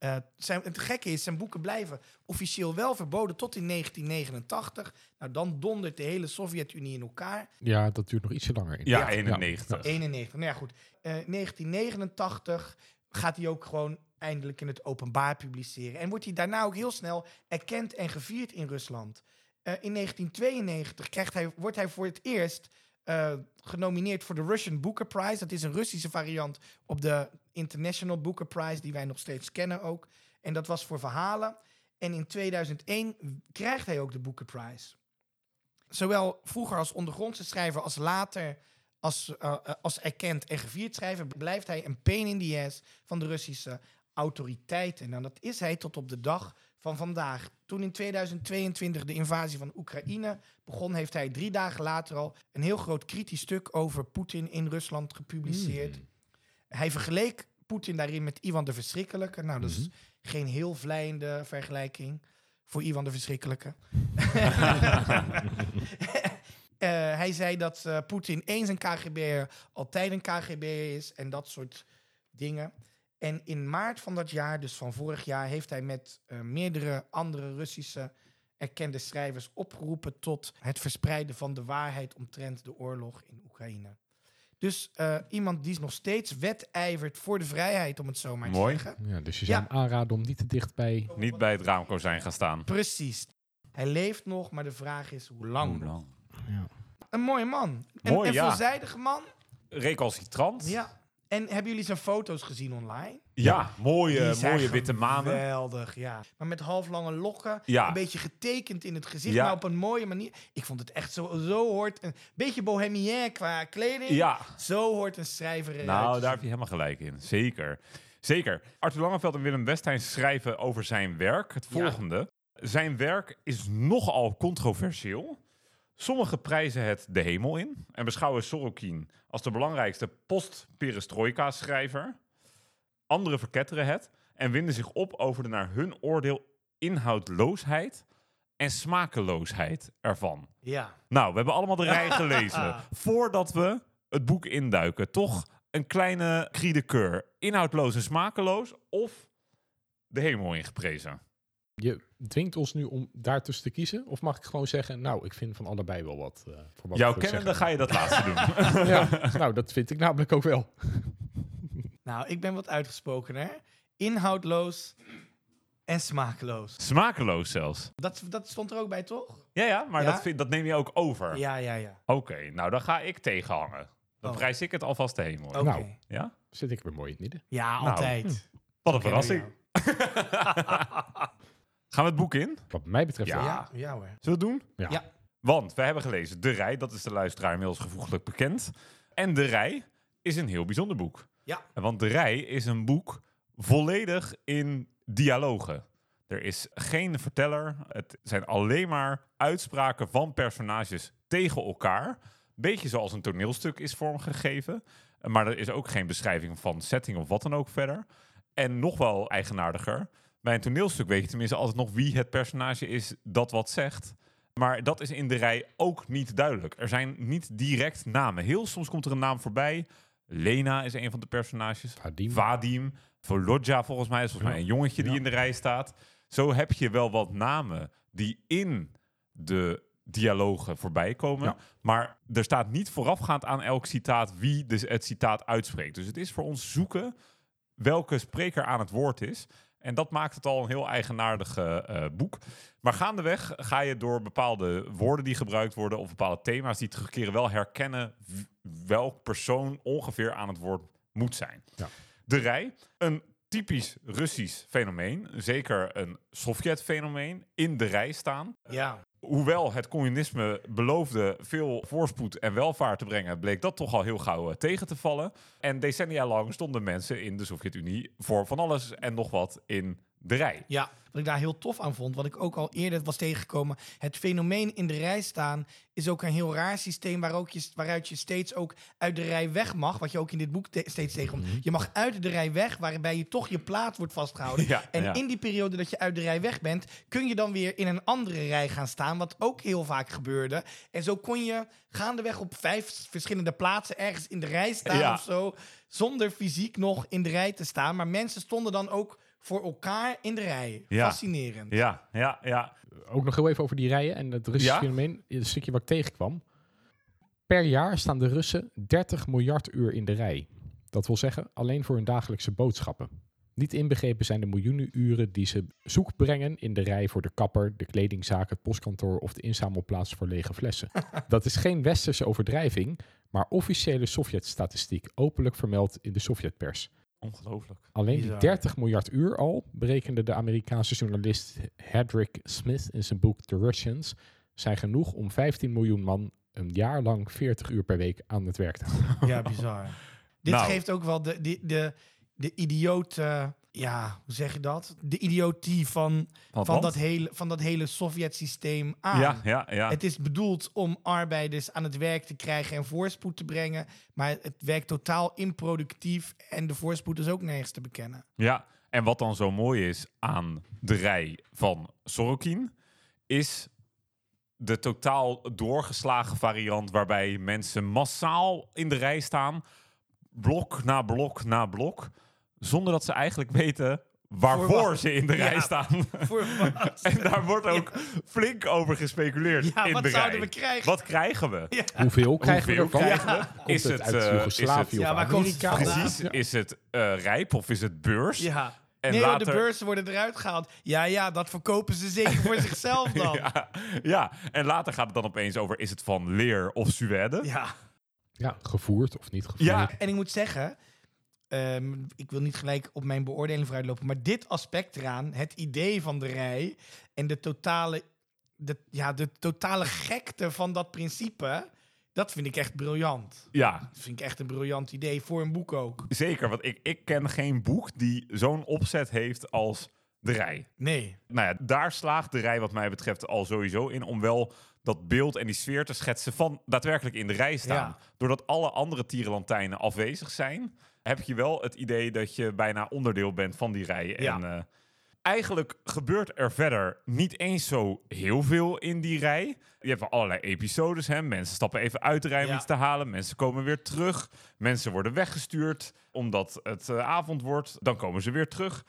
Speaker 4: Eh, zijn, het gekke is, zijn boeken blijven officieel wel verboden tot in 1989. Nou, dan dondert de hele Sovjet-Unie in elkaar.
Speaker 2: Ja, dat duurt nog ietsje langer.
Speaker 3: Ja,
Speaker 4: Ja.
Speaker 3: 91.
Speaker 4: 91. Nou ja, goed. Eh, 1989 gaat hij ook gewoon eindelijk in het openbaar publiceren. En wordt hij daarna ook heel snel erkend en gevierd in Rusland. Eh, in 1992 krijgt hij, wordt hij voor het eerst eh, genomineerd voor de Russian Booker Prize. Dat is een Russische variant op de International Booker Prize, die wij nog steeds kennen ook. En dat was voor verhalen. En in 2001 krijgt hij ook de Booker Prize. Zowel vroeger als ondergrondse schrijver als later als, eh, eh, als erkend en gevierd schrijver blijft hij een pain in the ass van de Russische autoriteiten. Nou, dat is hij tot op de dag van vandaag. Toen in 2022 de invasie van Oekraïne begon, heeft hij drie dagen later al een heel groot kritisch stuk over Poetin in Rusland gepubliceerd. Hij vergeleek Poetin daarin met Ivan de Verschrikkelijke. Nou, dat is geen heel vlijende vergelijking voor Ivan de Verschrikkelijke. *laughs* Eh, hij zei dat eh, Poetin eens een KGB'er altijd een KGB'er is en dat soort dingen. En in maart van dat jaar, dus van vorig jaar, heeft hij met eh, meerdere andere Russische erkende schrijvers opgeroepen tot het verspreiden van de waarheid omtrent de oorlog in Oekraïne. Dus eh, iemand die nog steeds wedijvert voor de vrijheid, om het zo maar
Speaker 3: Mooi.
Speaker 4: te zeggen.
Speaker 2: Ja, dus je
Speaker 4: Ja.
Speaker 2: zou hem aanraden om niet te dicht bij...
Speaker 3: Niet bij het raamkozijn gaan staan.
Speaker 4: Precies. Hij leeft nog, maar de vraag is hoe lang.
Speaker 3: Hoe lang?
Speaker 4: Een mooie man. En
Speaker 3: Mooi,
Speaker 4: een
Speaker 3: ja.
Speaker 4: veelzijdige man.
Speaker 3: Recalcitrant. Ja,
Speaker 4: Ja. En hebben jullie zijn foto's gezien online?
Speaker 3: mooie,
Speaker 4: Die zijn
Speaker 3: mooie witte manen.
Speaker 4: Geweldig, ja. Maar met halflange lokken.
Speaker 3: Ja.
Speaker 4: Een beetje getekend in het gezicht,
Speaker 3: Ja.
Speaker 4: maar op een mooie manier. Ik vond het echt zo, zo hoort... Een beetje bohemien qua kleding.
Speaker 3: Ja,
Speaker 4: Zo hoort een schrijver eruit.
Speaker 3: nou, daar heb je helemaal gelijk in. Zeker. Zeker. Arthur Langeveld en Willem Westijn schrijven over zijn werk het
Speaker 2: Ja.
Speaker 3: volgende. Zijn werk is nogal controversieel. Sommigen prijzen het de hemel in en beschouwen Sorokin als de belangrijkste post-perestroika-schrijver. Anderen verketteren het en winden zich op over de naar hun oordeel inhoudloosheid en smakeloosheid ervan.
Speaker 4: Ja.
Speaker 3: Nou, we hebben allemaal de rij
Speaker 4: *laughs*
Speaker 3: gelezen. Voordat we het boek induiken, toch een kleine kriedekeur. Inhoudloos en smakeloos of de hemel ingeprezen.
Speaker 2: Je dwingt ons nu om daartussen te kiezen. Of mag ik gewoon zeggen, nou, ik vind van allebei wel wat. eh, voor wat
Speaker 3: Jouw
Speaker 2: ik wil
Speaker 3: kennende
Speaker 2: zeggen.
Speaker 3: ga je dat laatste doen. *laughs*
Speaker 2: Ja, nou, dat vind ik namelijk ook wel.
Speaker 4: Nou, ik ben wat uitgesproken, hè. Inhoudloos en smakeloos.
Speaker 3: Smakeloos zelfs.
Speaker 4: Dat, dat stond er ook bij, toch?
Speaker 3: Ja, ja, maar
Speaker 4: Ja?
Speaker 3: Dat, vind, dat neem je ook over.
Speaker 4: Ja, ja, ja.
Speaker 3: Oké, nou dan ga ik tegenhangen. Dan
Speaker 4: Oh.
Speaker 3: prijs ik het alvast de hemel. in.
Speaker 4: Oké.
Speaker 2: Nou.
Speaker 3: Ja?
Speaker 2: Zit ik weer mooi in het midden.
Speaker 4: Ja, altijd.
Speaker 3: Wat een verrassing. *laughs* Gaan we het boek in?
Speaker 2: Wat mij betreft
Speaker 3: Ja.
Speaker 2: wel.
Speaker 4: Ja, ja hoor.
Speaker 3: Zullen we het doen?
Speaker 2: Ja.
Speaker 4: Ja.
Speaker 3: Want we hebben gelezen De Rij, dat is de luisteraar inmiddels gevoeglijk bekend. En De Rij is een heel bijzonder boek.
Speaker 4: Ja.
Speaker 3: Want De Rij is een boek volledig in dialogen. Er is geen verteller. Het zijn alleen maar uitspraken van personages tegen elkaar. Beetje zoals een toneelstuk is vormgegeven. Maar er is ook geen beschrijving van setting of wat dan ook verder. En nog wel eigenaardiger. Bij een toneelstuk weet je tenminste altijd nog wie het personage is dat wat zegt. Maar dat is in de rij ook niet duidelijk. Er zijn niet direct namen. Heel soms komt er een naam voorbij. Lena is een van de personages.
Speaker 2: Vadim.
Speaker 3: Vadim. Volodja volgens mij is volgens mij een jongetje die in de rij staat. Zo heb je wel wat namen die in de dialogen voorbij komen.
Speaker 2: Ja.
Speaker 3: Maar er staat niet voorafgaand aan elk citaat wie dus het citaat uitspreekt. Dus het is voor ons zoeken welke spreker aan het woord is. En dat maakt het al een heel eigenaardig eh, eh, boek. Maar gaandeweg ga je door bepaalde woorden die gebruikt worden... of bepaalde thema's die terugkeren wel herkennen... w- welk persoon ongeveer aan het woord moet zijn.
Speaker 2: Ja.
Speaker 3: De rij, een typisch Russisch fenomeen. Zeker een Sovjet-fenomeen. In de rij staan.
Speaker 4: Ja.
Speaker 3: Hoewel het communisme beloofde veel voorspoed en welvaart te brengen, bleek dat toch al heel gauw eh, tegen te vallen. En decennia lang stonden mensen in de Sovjet-Unie voor van alles en nog wat in de rij.
Speaker 4: Ja, wat ik daar heel tof aan vond, wat ik ook al eerder was tegengekomen. Het fenomeen in de rij staan is ook een heel raar systeem waar ook je, waaruit je steeds ook uit de rij weg mag. Wat je ook in dit boek te- steeds tegenkomt.
Speaker 3: Mhm.
Speaker 4: Je mag uit de rij weg, waarbij je toch je plaats wordt vastgehouden.
Speaker 3: *laughs* Ja,
Speaker 4: en
Speaker 3: ja.
Speaker 4: in die periode dat je uit de rij weg bent, kun je dan weer in een andere rij gaan staan. Wat ook heel vaak gebeurde. En zo kon je gaandeweg op vijf verschillende plaatsen ergens in de rij staan
Speaker 3: Ja.
Speaker 4: of zo. Zonder fysiek nog in de rij te staan. Maar mensen stonden dan ook voor elkaar in de rij.
Speaker 3: Ja.
Speaker 4: Fascinerend.
Speaker 3: Ja, ja, ja.
Speaker 2: Ook nog heel even over die rijen en het Russische
Speaker 3: Ja?
Speaker 2: fenomeen. Het stukje wat ik tegenkwam. Per jaar staan de Russen 30 miljard uur in de rij. Dat wil zeggen alleen voor hun dagelijkse boodschappen. Niet inbegrepen zijn de miljoenen uren die ze zoek brengen in de rij voor de kapper, de kledingzaak, het postkantoor of de inzamelplaats voor lege flessen. Dat is geen westerse overdrijving, maar officiële Sovjet-statistiek, openlijk vermeld in de Sovjetpers.
Speaker 3: Ongelooflijk.
Speaker 2: Alleen die
Speaker 4: Bizar.
Speaker 2: 30 miljard uur al, berekende de Amerikaanse journalist Hedrick Smith in zijn boek The Russians, zijn genoeg om 15 miljoen man een jaar lang 40 uur per week aan het werk te houden.
Speaker 4: Ja, bizar. Dit
Speaker 3: Nou.
Speaker 4: geeft ook wel de, de, de, de idioot... eh, ja, hoe zeg je dat? De idiotie van,
Speaker 3: Van,
Speaker 4: van, dat, hele, van dat hele Sovjet-systeem aan.
Speaker 3: Ja, ja, ja.
Speaker 4: Het is bedoeld om arbeiders aan het werk te krijgen en voorspoed te brengen. Maar het werkt totaal improductief en de voorspoed is ook nergens te
Speaker 3: *laughs*
Speaker 4: bekennen.
Speaker 3: Ja, en wat dan zo mooi is aan de rij van Sorokin, is de totaal doorgeslagen variant waarbij mensen massaal in de rij staan, blok na blok na blok, zonder dat ze eigenlijk weten
Speaker 4: Voor
Speaker 3: waarvoor
Speaker 4: wat?
Speaker 3: ze in de
Speaker 4: Ja.
Speaker 3: rij staan.
Speaker 4: *laughs*
Speaker 3: *laughs*
Speaker 4: Voor wat?
Speaker 3: En daar wordt ook flink over gespeculeerd
Speaker 4: Ja,
Speaker 3: in
Speaker 4: wat
Speaker 3: de rij.
Speaker 4: zouden we krijgen?
Speaker 3: Wat krijgen we?
Speaker 2: Hoeveel krijgen
Speaker 3: Hoeveel
Speaker 2: we ervan?
Speaker 3: krijgen we?
Speaker 2: Komt
Speaker 3: Is
Speaker 2: het,
Speaker 3: het,
Speaker 2: uit
Speaker 3: eh, is het-
Speaker 2: Joegoslavië
Speaker 4: Ja,
Speaker 2: of
Speaker 4: waar komt het
Speaker 2: Amerika?
Speaker 4: vandaan?
Speaker 2: Of-
Speaker 3: Precies, is het eh, rijp of is het beurs?
Speaker 4: Ja.
Speaker 3: En
Speaker 4: nee, hoor, de
Speaker 3: later-
Speaker 4: beurzen worden eruit gehaald. Ja, ja, dat verkopen ze zeker
Speaker 3: *laughs*
Speaker 4: voor zichzelf dan. Ja.
Speaker 3: Ja, *laughs* ja, en later gaat het dan opeens over: is het van leer of Suède?
Speaker 2: Ja, gevoerd of niet gevoerd.
Speaker 3: Ja.
Speaker 4: En ik moet zeggen, ehm, ik wil niet gelijk op mijn beoordeling vooruitlopen, maar dit aspect eraan, het idee van de rij en de totale, de, ja, de totale gekte van dat principe, dat vind ik echt briljant.
Speaker 3: Ja,
Speaker 4: Dat vind ik echt een briljant idee, voor een boek ook.
Speaker 3: zeker. Want ik, ik ken geen boek die zo'n opzet heeft als de rij.
Speaker 4: Nee.
Speaker 3: Nou ja, daar slaagt de rij, wat mij betreft, al sowieso in om wel dat beeld en die sfeer te schetsen van daadwerkelijk in de rij staan.
Speaker 4: Ja.
Speaker 3: Doordat alle andere tierenlantijnen afwezig zijn, heb je wel het idee dat je bijna onderdeel bent van die rij.
Speaker 4: Ja.
Speaker 3: En eh, eigenlijk gebeurt er verder niet eens zo heel veel in die rij. Je hebt wel allerlei episodes, hè? mensen stappen even uit de rij om
Speaker 4: Ja.
Speaker 3: iets te halen, mensen komen weer terug, mensen worden weggestuurd omdat het eh, avond wordt, dan komen ze weer terug.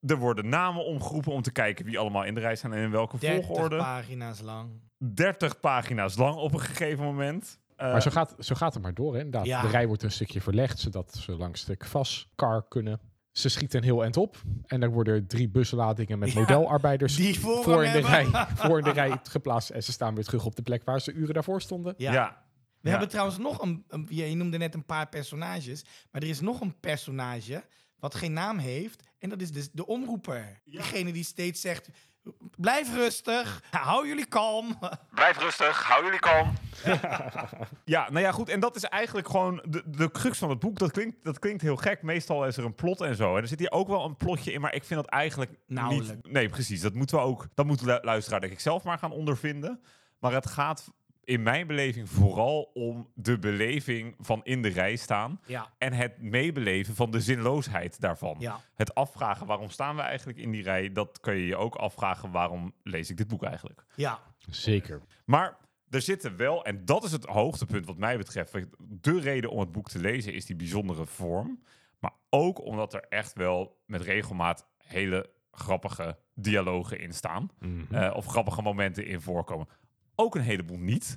Speaker 3: Er worden namen omgeroepen om te kijken wie allemaal in de rij staan en in welke
Speaker 4: 30
Speaker 3: volgorde.
Speaker 4: pagina's lang.
Speaker 3: 30 pagina's lang op een gegeven moment. Eh,
Speaker 2: Maar zo gaat, zo gaat het maar door, hè? inderdaad.
Speaker 4: Ja.
Speaker 2: De rij wordt een stukje verlegd, zodat ze langs stuk vast kar kunnen. Ze schieten een heel eind op. En er worden drie busladingen met
Speaker 4: Ja,
Speaker 2: modelarbeiders
Speaker 4: die voorrang
Speaker 2: voor, in de rij,
Speaker 4: hebben.
Speaker 2: voor in de rij geplaatst. En ze staan weer terug op de plek waar ze uren daarvoor stonden.
Speaker 4: Ja.
Speaker 3: ja.
Speaker 4: We
Speaker 3: Ja.
Speaker 4: hebben trouwens nog een, een- Je je noemde net een paar personages. Maar er is nog een personage. wat geen naam heeft. En dat is dus de omroeper. Degene die steeds zegt. Blijf rustig. Hou jullie kalm. *laughs*
Speaker 3: Blijf rustig, hou jullie kalm. ja, nou ja, goed. En dat is eigenlijk gewoon de, de crux van het boek. Dat klinkt, dat klinkt heel gek. Meestal is er een plot en zo. En er zit hier ook wel een plotje in, maar ik vind dat eigenlijk
Speaker 4: Nauwelijks.
Speaker 3: niet... Nee, precies. Dat moeten we ook... Dat moet de lu- luisteraar denk ik zelf maar gaan ondervinden. Maar het gaat in mijn beleving vooral om de beleving van in de rij staan.
Speaker 4: Ja.
Speaker 3: En het meebeleven van de zinloosheid daarvan.
Speaker 4: Ja.
Speaker 3: Het afvragen waarom staan we eigenlijk in die rij, dat kun je je ook afvragen waarom lees ik dit boek eigenlijk.
Speaker 4: Ja.
Speaker 2: Zeker.
Speaker 3: Maar er zitten wel, en dat is het hoogtepunt wat mij betreft. De reden om het boek te lezen is die bijzondere vorm. Maar ook omdat er echt wel met regelmaat hele grappige dialogen in staan. Eh, of grappige momenten in voorkomen. Ook een heleboel niet. *laughs*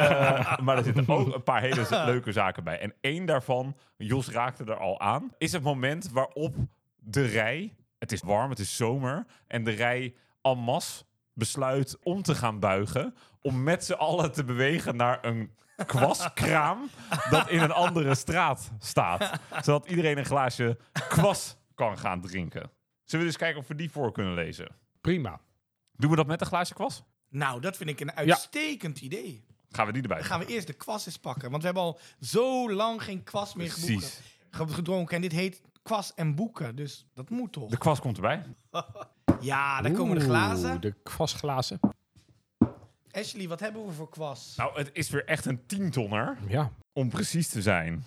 Speaker 3: Eh, maar er zitten ook een paar hele z- leuke zaken bij. En één daarvan, Jos raakte er al aan, is het moment waarop de rij, het is warm, het is zomer, en de rij en masse besluit om te gaan buigen, om met z'n allen te bewegen naar een kwaskraam dat in een andere straat staat. Zodat iedereen een glaasje kwas kan gaan drinken. Zullen we dus kijken of we die voor kunnen lezen?
Speaker 2: Prima.
Speaker 3: Doen we dat met een glaasje kwas?
Speaker 4: Nou, dat vind ik een uitstekend idee.
Speaker 3: Gaan we die erbij?
Speaker 4: Dan gaan we eerst de kwast eens pakken. Want we hebben al zo lang geen kwast meer geboeken,
Speaker 3: Precies.
Speaker 4: ge- gedronken. En dit heet kwast en boeken. Dus dat moet toch?
Speaker 3: De kwas komt erbij.
Speaker 4: Ja, Ah, daar komen de glazen.
Speaker 2: Oeh, de kwastglazen.
Speaker 4: Ashley, wat hebben we voor kwast?
Speaker 3: Nou, het is weer echt een tientonner,
Speaker 2: Ja.
Speaker 3: om precies te zijn.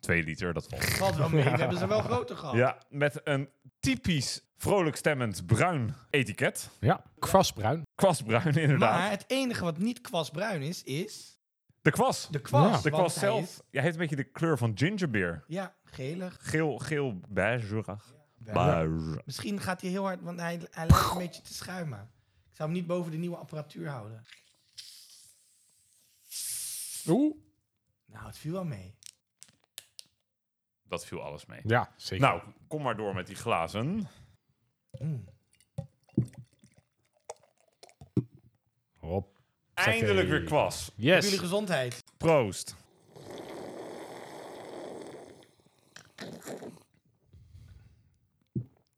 Speaker 3: Twee liter, dat valt.
Speaker 4: Valt wel
Speaker 3: *laughs*
Speaker 4: mee. We hebben ze wel groter gehad.
Speaker 3: Ja, met een typisch vrolijk stemmend bruin etiket.
Speaker 2: ja. Kwastbruin.
Speaker 3: Kwasbruin, inderdaad.
Speaker 4: Maar het enige wat niet kwasbruin is, is...
Speaker 3: De kwast.
Speaker 4: De kwast.
Speaker 2: Ja.
Speaker 3: De
Speaker 4: want
Speaker 3: kwast
Speaker 4: hij
Speaker 3: zelf.
Speaker 4: is-
Speaker 3: Hij heeft een beetje de kleur van gingerbeer.
Speaker 4: ja, gelig.
Speaker 3: Geel, geel, beigerig. Beige.
Speaker 4: Misschien gaat hij heel hard, want hij, hij lijkt een beetje te schuimen. Ik zou hem niet boven de nieuwe apparatuur houden.
Speaker 2: Oeh.
Speaker 4: Nou, het viel wel mee.
Speaker 3: Dat viel alles mee.
Speaker 2: Ja, zeker.
Speaker 3: Nou, kom maar door met die glazen.
Speaker 4: Mm.
Speaker 2: Hop.
Speaker 3: Eindelijk weer kwast.
Speaker 4: Voor jullie
Speaker 2: Yes.
Speaker 4: gezondheid.
Speaker 3: Proost.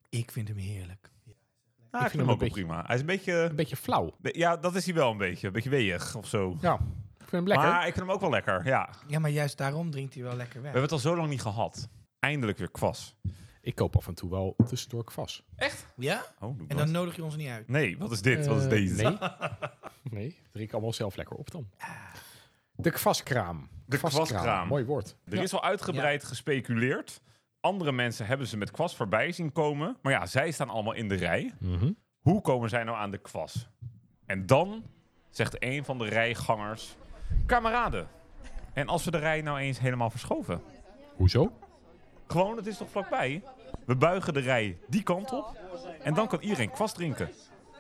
Speaker 4: Ik vind hem heerlijk.
Speaker 3: Nou,
Speaker 2: hem
Speaker 3: ik vind hem ook wel
Speaker 2: een beetje-
Speaker 3: prima. Hij is een beetje...
Speaker 2: Een beetje flauw.
Speaker 3: be- Ja, dat is hij wel een beetje. Een beetje weeg of zo.
Speaker 2: Ja, ik vind hem lekker.
Speaker 3: Maar ik vind hem ook wel lekker, ja. We
Speaker 4: Ja, maar juist daarom drinkt hij wel lekker weg.
Speaker 3: hebben het al zo lang niet gehad. Eindelijk weer kwast.
Speaker 2: Ik koop af en toe wel tussendoor kwast.
Speaker 4: Ja?
Speaker 3: Oh, doe
Speaker 4: En
Speaker 3: dat.
Speaker 4: dan nodig je ons niet uit.
Speaker 3: Nee, wat is dit? wat is
Speaker 2: Eh,
Speaker 3: deze?
Speaker 2: Nee. nee, drink ik allemaal zelf lekker op dan.
Speaker 4: Ah.
Speaker 2: De kwastkraam.
Speaker 3: De kwastkraam.
Speaker 2: Mooi woord.
Speaker 3: Er is al uitgebreid gespeculeerd. Andere mensen hebben ze met kwast voorbij zien komen. Maar ja, zij staan allemaal in de rij. Hoe komen zij nou aan de kwast? En dan zegt een van de rijgangers... Kameraden, en als we de rij nou eens helemaal verschoven?
Speaker 2: Hoezo?
Speaker 3: Gewoon, het is toch vlakbij? We buigen de rij die kant op. En dan kan iedereen kwast drinken.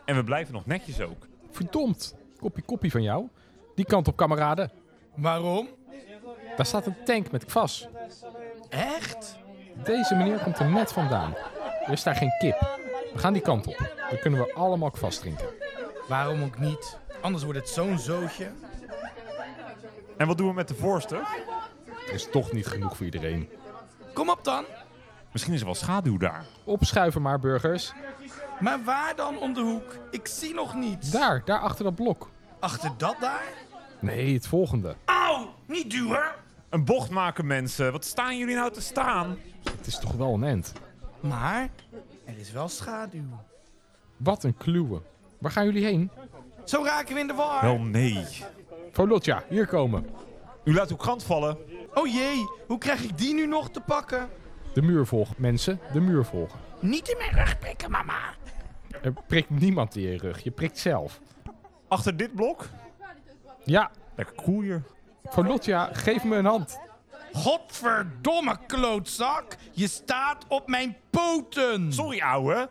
Speaker 3: En we blijven nog netjes ook.
Speaker 2: Verdomd. Kopje koppie van jou. Die kant op, kameraden.
Speaker 4: Waarom?
Speaker 2: Daar staat een tank met kwast.
Speaker 4: Echt?
Speaker 2: Deze meneer komt er net vandaan. Er is daar geen kip. We gaan die kant op. Dan kunnen we allemaal kwast drinken.
Speaker 4: Waarom ook niet? Anders wordt het zo'n zootje.
Speaker 3: En wat doen we met de voorste?
Speaker 2: Er is toch niet genoeg voor iedereen.
Speaker 4: Kom op dan.
Speaker 3: Misschien is er wel schaduw daar.
Speaker 2: Opschuiven maar, burgers.
Speaker 4: Maar waar dan om de hoek? Ik zie nog niets.
Speaker 2: Daar, daar achter dat blok.
Speaker 4: Achter dat daar?
Speaker 2: Nee, het volgende.
Speaker 4: Auw, niet duwen.
Speaker 3: Een bocht maken, mensen. Wat staan jullie nou te staan?
Speaker 2: Het is toch wel een end.
Speaker 4: Maar er is wel schaduw.
Speaker 2: Wat een kluwe. Waar gaan jullie heen?
Speaker 4: Zo raken we in de war.
Speaker 3: Wel nee.
Speaker 2: Volotja, hier komen.
Speaker 3: U laat uw krant vallen.
Speaker 4: Oh jee, hoe krijg ik die nu nog te pakken?
Speaker 2: De muur volgen, mensen. De muur volgen.
Speaker 4: Niet in mijn rug prikken, mama.
Speaker 2: Er prikt niemand in je rug. Je prikt zelf.
Speaker 3: Achter dit blok?
Speaker 2: Ja,
Speaker 3: Lekker koel hier.
Speaker 2: Volotja, geef me een hand.
Speaker 4: Godverdomme klootzak. Je staat op mijn poten.
Speaker 3: Sorry, ouwe.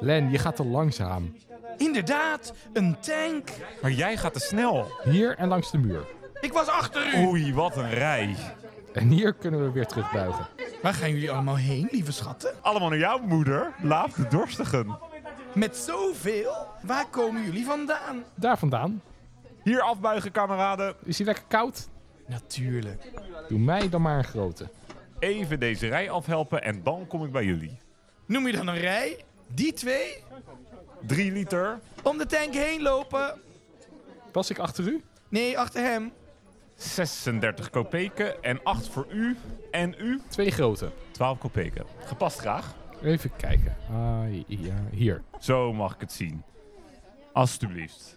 Speaker 2: Len, je gaat te langzaam.
Speaker 4: Inderdaad, een tank.
Speaker 3: Maar jij gaat te snel.
Speaker 2: Hier en langs de muur.
Speaker 4: Ik was achter u.
Speaker 3: Oei, wat een rij.
Speaker 2: En hier kunnen we weer terugbuigen.
Speaker 4: Waar gaan jullie allemaal heen, lieve schatten?
Speaker 3: Allemaal naar jouw moeder. Laaf de dorstigen.
Speaker 4: Met zoveel? Waar komen jullie vandaan?
Speaker 2: Daar vandaan.
Speaker 3: Hier afbuigen, kameraden.
Speaker 2: Is hij lekker koud?
Speaker 4: Natuurlijk.
Speaker 2: Doe mij dan maar een grote.
Speaker 3: Even deze rij afhelpen en dan kom ik bij jullie.
Speaker 4: Noem je dan een rij? Die twee?
Speaker 3: Drie liter.
Speaker 4: Om de tank heen lopen?
Speaker 2: Was ik achter u?
Speaker 4: Nee, achter hem.
Speaker 3: 36 kopeken en 8 voor u en u
Speaker 2: Twee grote.
Speaker 3: 12 kopeken. Gepast graag.
Speaker 2: Even kijken. Ah, ja, hier.
Speaker 3: Zo mag ik het zien. Alsjeblieft.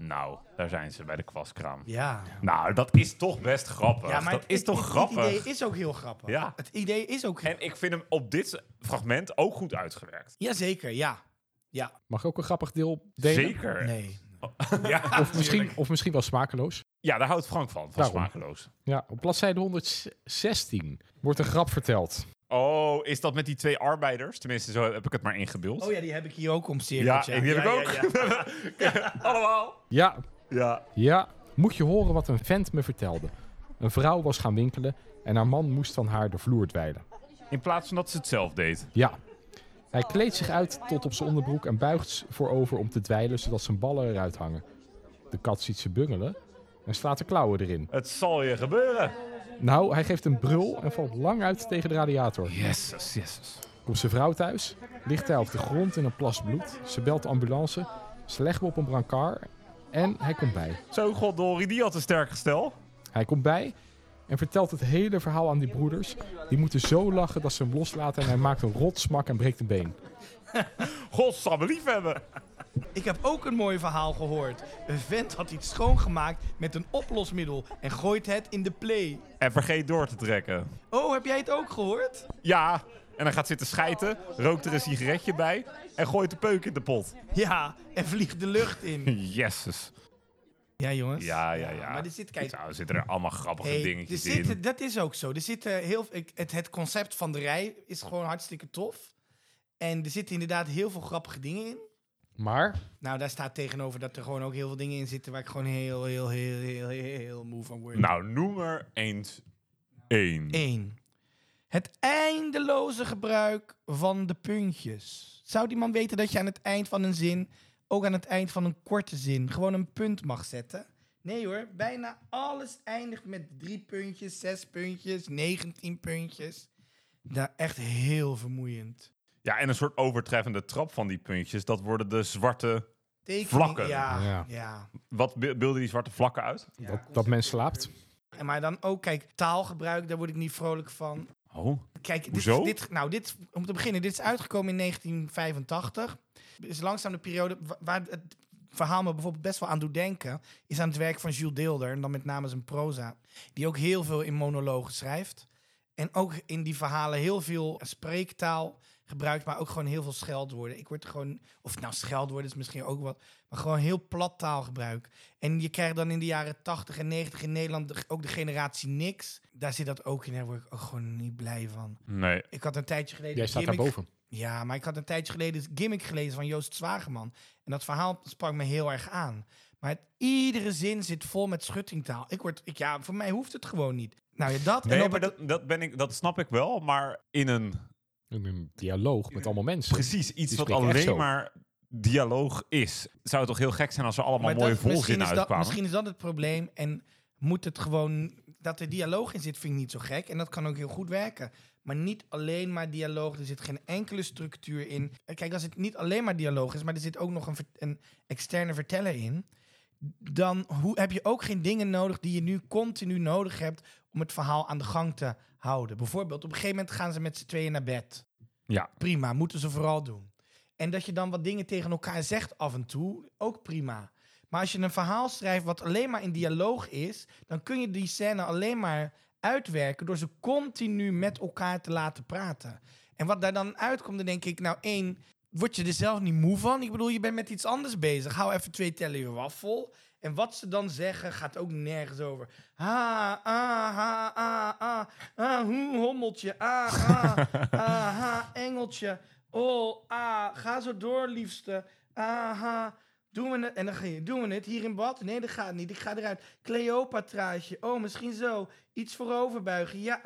Speaker 3: Nou, daar zijn ze bij de kwastkraam.
Speaker 4: Ja.
Speaker 3: Nou, dat is toch best grappig. dat is toch grappig.
Speaker 4: Het idee is ook heel grappig.
Speaker 3: Ja.
Speaker 4: Het idee is ook...
Speaker 3: En ik vind hem op dit fragment ook goed uitgewerkt.
Speaker 4: Jazeker, ja. Ja.
Speaker 2: Mag ik ook een grappig deel delen?
Speaker 3: Zeker.
Speaker 4: Nee.
Speaker 3: Ja.
Speaker 2: Of misschien, of misschien wel smakeloos.
Speaker 3: ja, daar houdt Frank van, van
Speaker 2: Daarom.
Speaker 3: smakeloos.
Speaker 2: Ja, op bladzijde 116 wordt een grap verteld.
Speaker 3: Oh, is dat met die twee arbeiders? Tenminste, zo heb ik het maar ingebeeld.
Speaker 4: Oh ja, die heb ik hier ook
Speaker 3: ja,
Speaker 4: omcirkeld.
Speaker 3: en die heb
Speaker 4: Ja,
Speaker 3: ik
Speaker 4: ja,
Speaker 3: ook. Allemaal.
Speaker 2: Ja,
Speaker 3: Ja.
Speaker 2: Ja, moet je horen wat een vent me vertelde. Een vrouw was gaan winkelen en haar man moest van haar de vloer dweilen.
Speaker 3: In plaats van dat ze het zelf deed.
Speaker 2: Ja. Hij kleedt zich uit tot op zijn onderbroek en buigt s- voorover om te dweilen zodat zijn ballen eruit hangen. De kat ziet ze bungelen en slaat de klauwen erin.
Speaker 3: Het zal je gebeuren.
Speaker 2: Nou, hij geeft een brul en valt lang uit tegen de radiator.
Speaker 3: Yes, yes.
Speaker 2: Komt zijn vrouw thuis, ligt hij op de grond in een plas bloed. Ze belt de ambulance, ze legt hem op een brancard en hij komt bij.
Speaker 3: Zo, goddorie, die had een sterk gestel.
Speaker 2: Hij komt bij en vertelt het hele verhaal aan die broeders. Die moeten zo lachen dat ze hem loslaten en hij maakt een rotsmak en breekt een been.
Speaker 3: Godsamme lief hebben.
Speaker 4: Ik heb ook een mooi verhaal gehoord. Een vent had iets schoongemaakt met een oplosmiddel en gooit het in de play.
Speaker 3: En vergeet door te trekken.
Speaker 4: Oh, heb jij het ook gehoord?
Speaker 3: Ja, en dan gaat zitten schijten, rookt er een sigaretje bij en gooit de peuk in de pot. *laughs*
Speaker 4: Ja, en vliegt de lucht in.
Speaker 3: Jezus.
Speaker 4: Ja, jongens.
Speaker 3: Ja, ja, ja.
Speaker 4: Maar er zit, kijk,
Speaker 3: Nou, zitten er allemaal grappige
Speaker 4: Hey, er
Speaker 3: dingetjes
Speaker 4: zitten-
Speaker 3: in.
Speaker 4: dat is ook zo. Er zitten heel, ik- het, het concept van de rij is gewoon hartstikke tof. En er zitten inderdaad heel veel grappige dingen in.
Speaker 2: Maar
Speaker 4: Nou, daar staat tegenover dat er gewoon ook heel veel dingen in zitten waar ik gewoon heel, heel, heel, heel, heel, heel moe van word.
Speaker 3: Nou, noem er eens één.
Speaker 4: Eén. Het eindeloze gebruik van de puntjes. Zou die man weten dat je aan het eind van een zin, ook aan het eind van een korte zin, gewoon een punt mag zetten? Nee hoor, bijna alles eindigt met drie puntjes, zes puntjes, 19 puntjes. Daar echt heel vermoeiend.
Speaker 3: Ja, en een soort overtreffende trap van die puntjes. Dat worden de zwarte...
Speaker 4: Tekening-
Speaker 3: Vlakken.
Speaker 4: Ja,
Speaker 2: Ja.
Speaker 4: ja.
Speaker 3: Wat be- beelden die zwarte vlakken uit?
Speaker 4: Ja,
Speaker 2: dat, dat
Speaker 4: concept-
Speaker 2: men slaapt.
Speaker 4: En maar dan ook, kijk, taalgebruik, daar word ik niet vrolijk van.
Speaker 3: Oh.
Speaker 4: Kijk, dit,
Speaker 3: Hoezo?
Speaker 4: dit, nou, dit, om te beginnen, dit is uitgekomen in 1985. Dit is langzaam de periode wa- waar het verhaal me bijvoorbeeld best wel aan doet denken... is aan het werk van Jules Deelder, en dan met name zijn proza... die ook heel veel in monologen schrijft. En ook in die verhalen heel veel spreektaal gebruikt... maar ook gewoon heel veel scheldwoorden. Ik word er gewoon... of nou, scheldwoorden is misschien ook wat... maar gewoon heel plat taalgebruik. En je krijgt dan in de jaren 80 en 90 in Nederland... de- ook de generatie niks. Daar zit dat ook in, daar word ik ook gewoon niet blij van.
Speaker 3: Nee.
Speaker 4: Ik had een tijdje geleden.
Speaker 2: Jij
Speaker 4: een
Speaker 2: staat
Speaker 4: gimmick-
Speaker 2: daarboven.
Speaker 4: Ja, maar ik had een tijdje geleden een gimmick gelezen van Joost Zwageman. En dat verhaal sprak me heel erg aan. Maar het- iedere zin zit vol met schuttingtaal. Ik word, ik, ja, voor mij hoeft het gewoon niet. Nou ja, dat. en
Speaker 3: Nee,
Speaker 4: op
Speaker 3: maar
Speaker 4: het-
Speaker 3: dat, dat, ben ik, dat snap ik wel. Maar in een...
Speaker 2: In een dialoog met allemaal mensen.
Speaker 3: Precies, iets
Speaker 2: Die
Speaker 3: wat
Speaker 2: spreken echt zo.
Speaker 3: alleen maar dialoog is. Zou het toch heel gek zijn als er allemaal
Speaker 4: maar
Speaker 3: mooie
Speaker 4: dat- misschien,
Speaker 3: volzinnen
Speaker 4: is dat,
Speaker 3: uitkwamen?
Speaker 4: misschien is dat het probleem. En moet het gewoon. Dat er dialoog in zit, vind ik niet zo gek. En dat kan ook heel goed werken. Maar niet alleen maar dialoog. Er zit geen enkele structuur in. Eh, Kijk, als het niet alleen maar dialoog is, maar er zit ook nog een, ver- een externe verteller in. Dan hoe, heb je ook geen dingen nodig die je nu continu nodig hebt om het verhaal aan de gang te houden. Bijvoorbeeld, op een gegeven moment gaan ze met z'n tweeën naar bed.
Speaker 3: Ja.
Speaker 4: Prima, moeten ze vooral doen. En dat je dan wat dingen tegen elkaar zegt af en toe, ook prima. Maar als je een verhaal schrijft wat alleen maar in dialoog is, dan kun je die scène alleen maar uitwerken door ze continu met elkaar te laten praten. En wat daar dan uitkomt, dan denk ik, nou één, word je er zelf niet moe van? Ik bedoel, je bent met iets anders bezig. Hou even twee tellen je waffel. En wat ze dan zeggen gaat ook nergens over. Ha, ah, ha, ah, ah, ah, hoe, hommeltje, ah, ah, ah, ha, engeltje. Oh, ah, ga zo door, liefste. Ah, ha, doen we het? En dan ga je, doen we het hier in bad? Nee, dat gaat niet. Ik ga eruit. Cleopatraatje. Oh, misschien zo. Iets vooroverbuigen. Ja.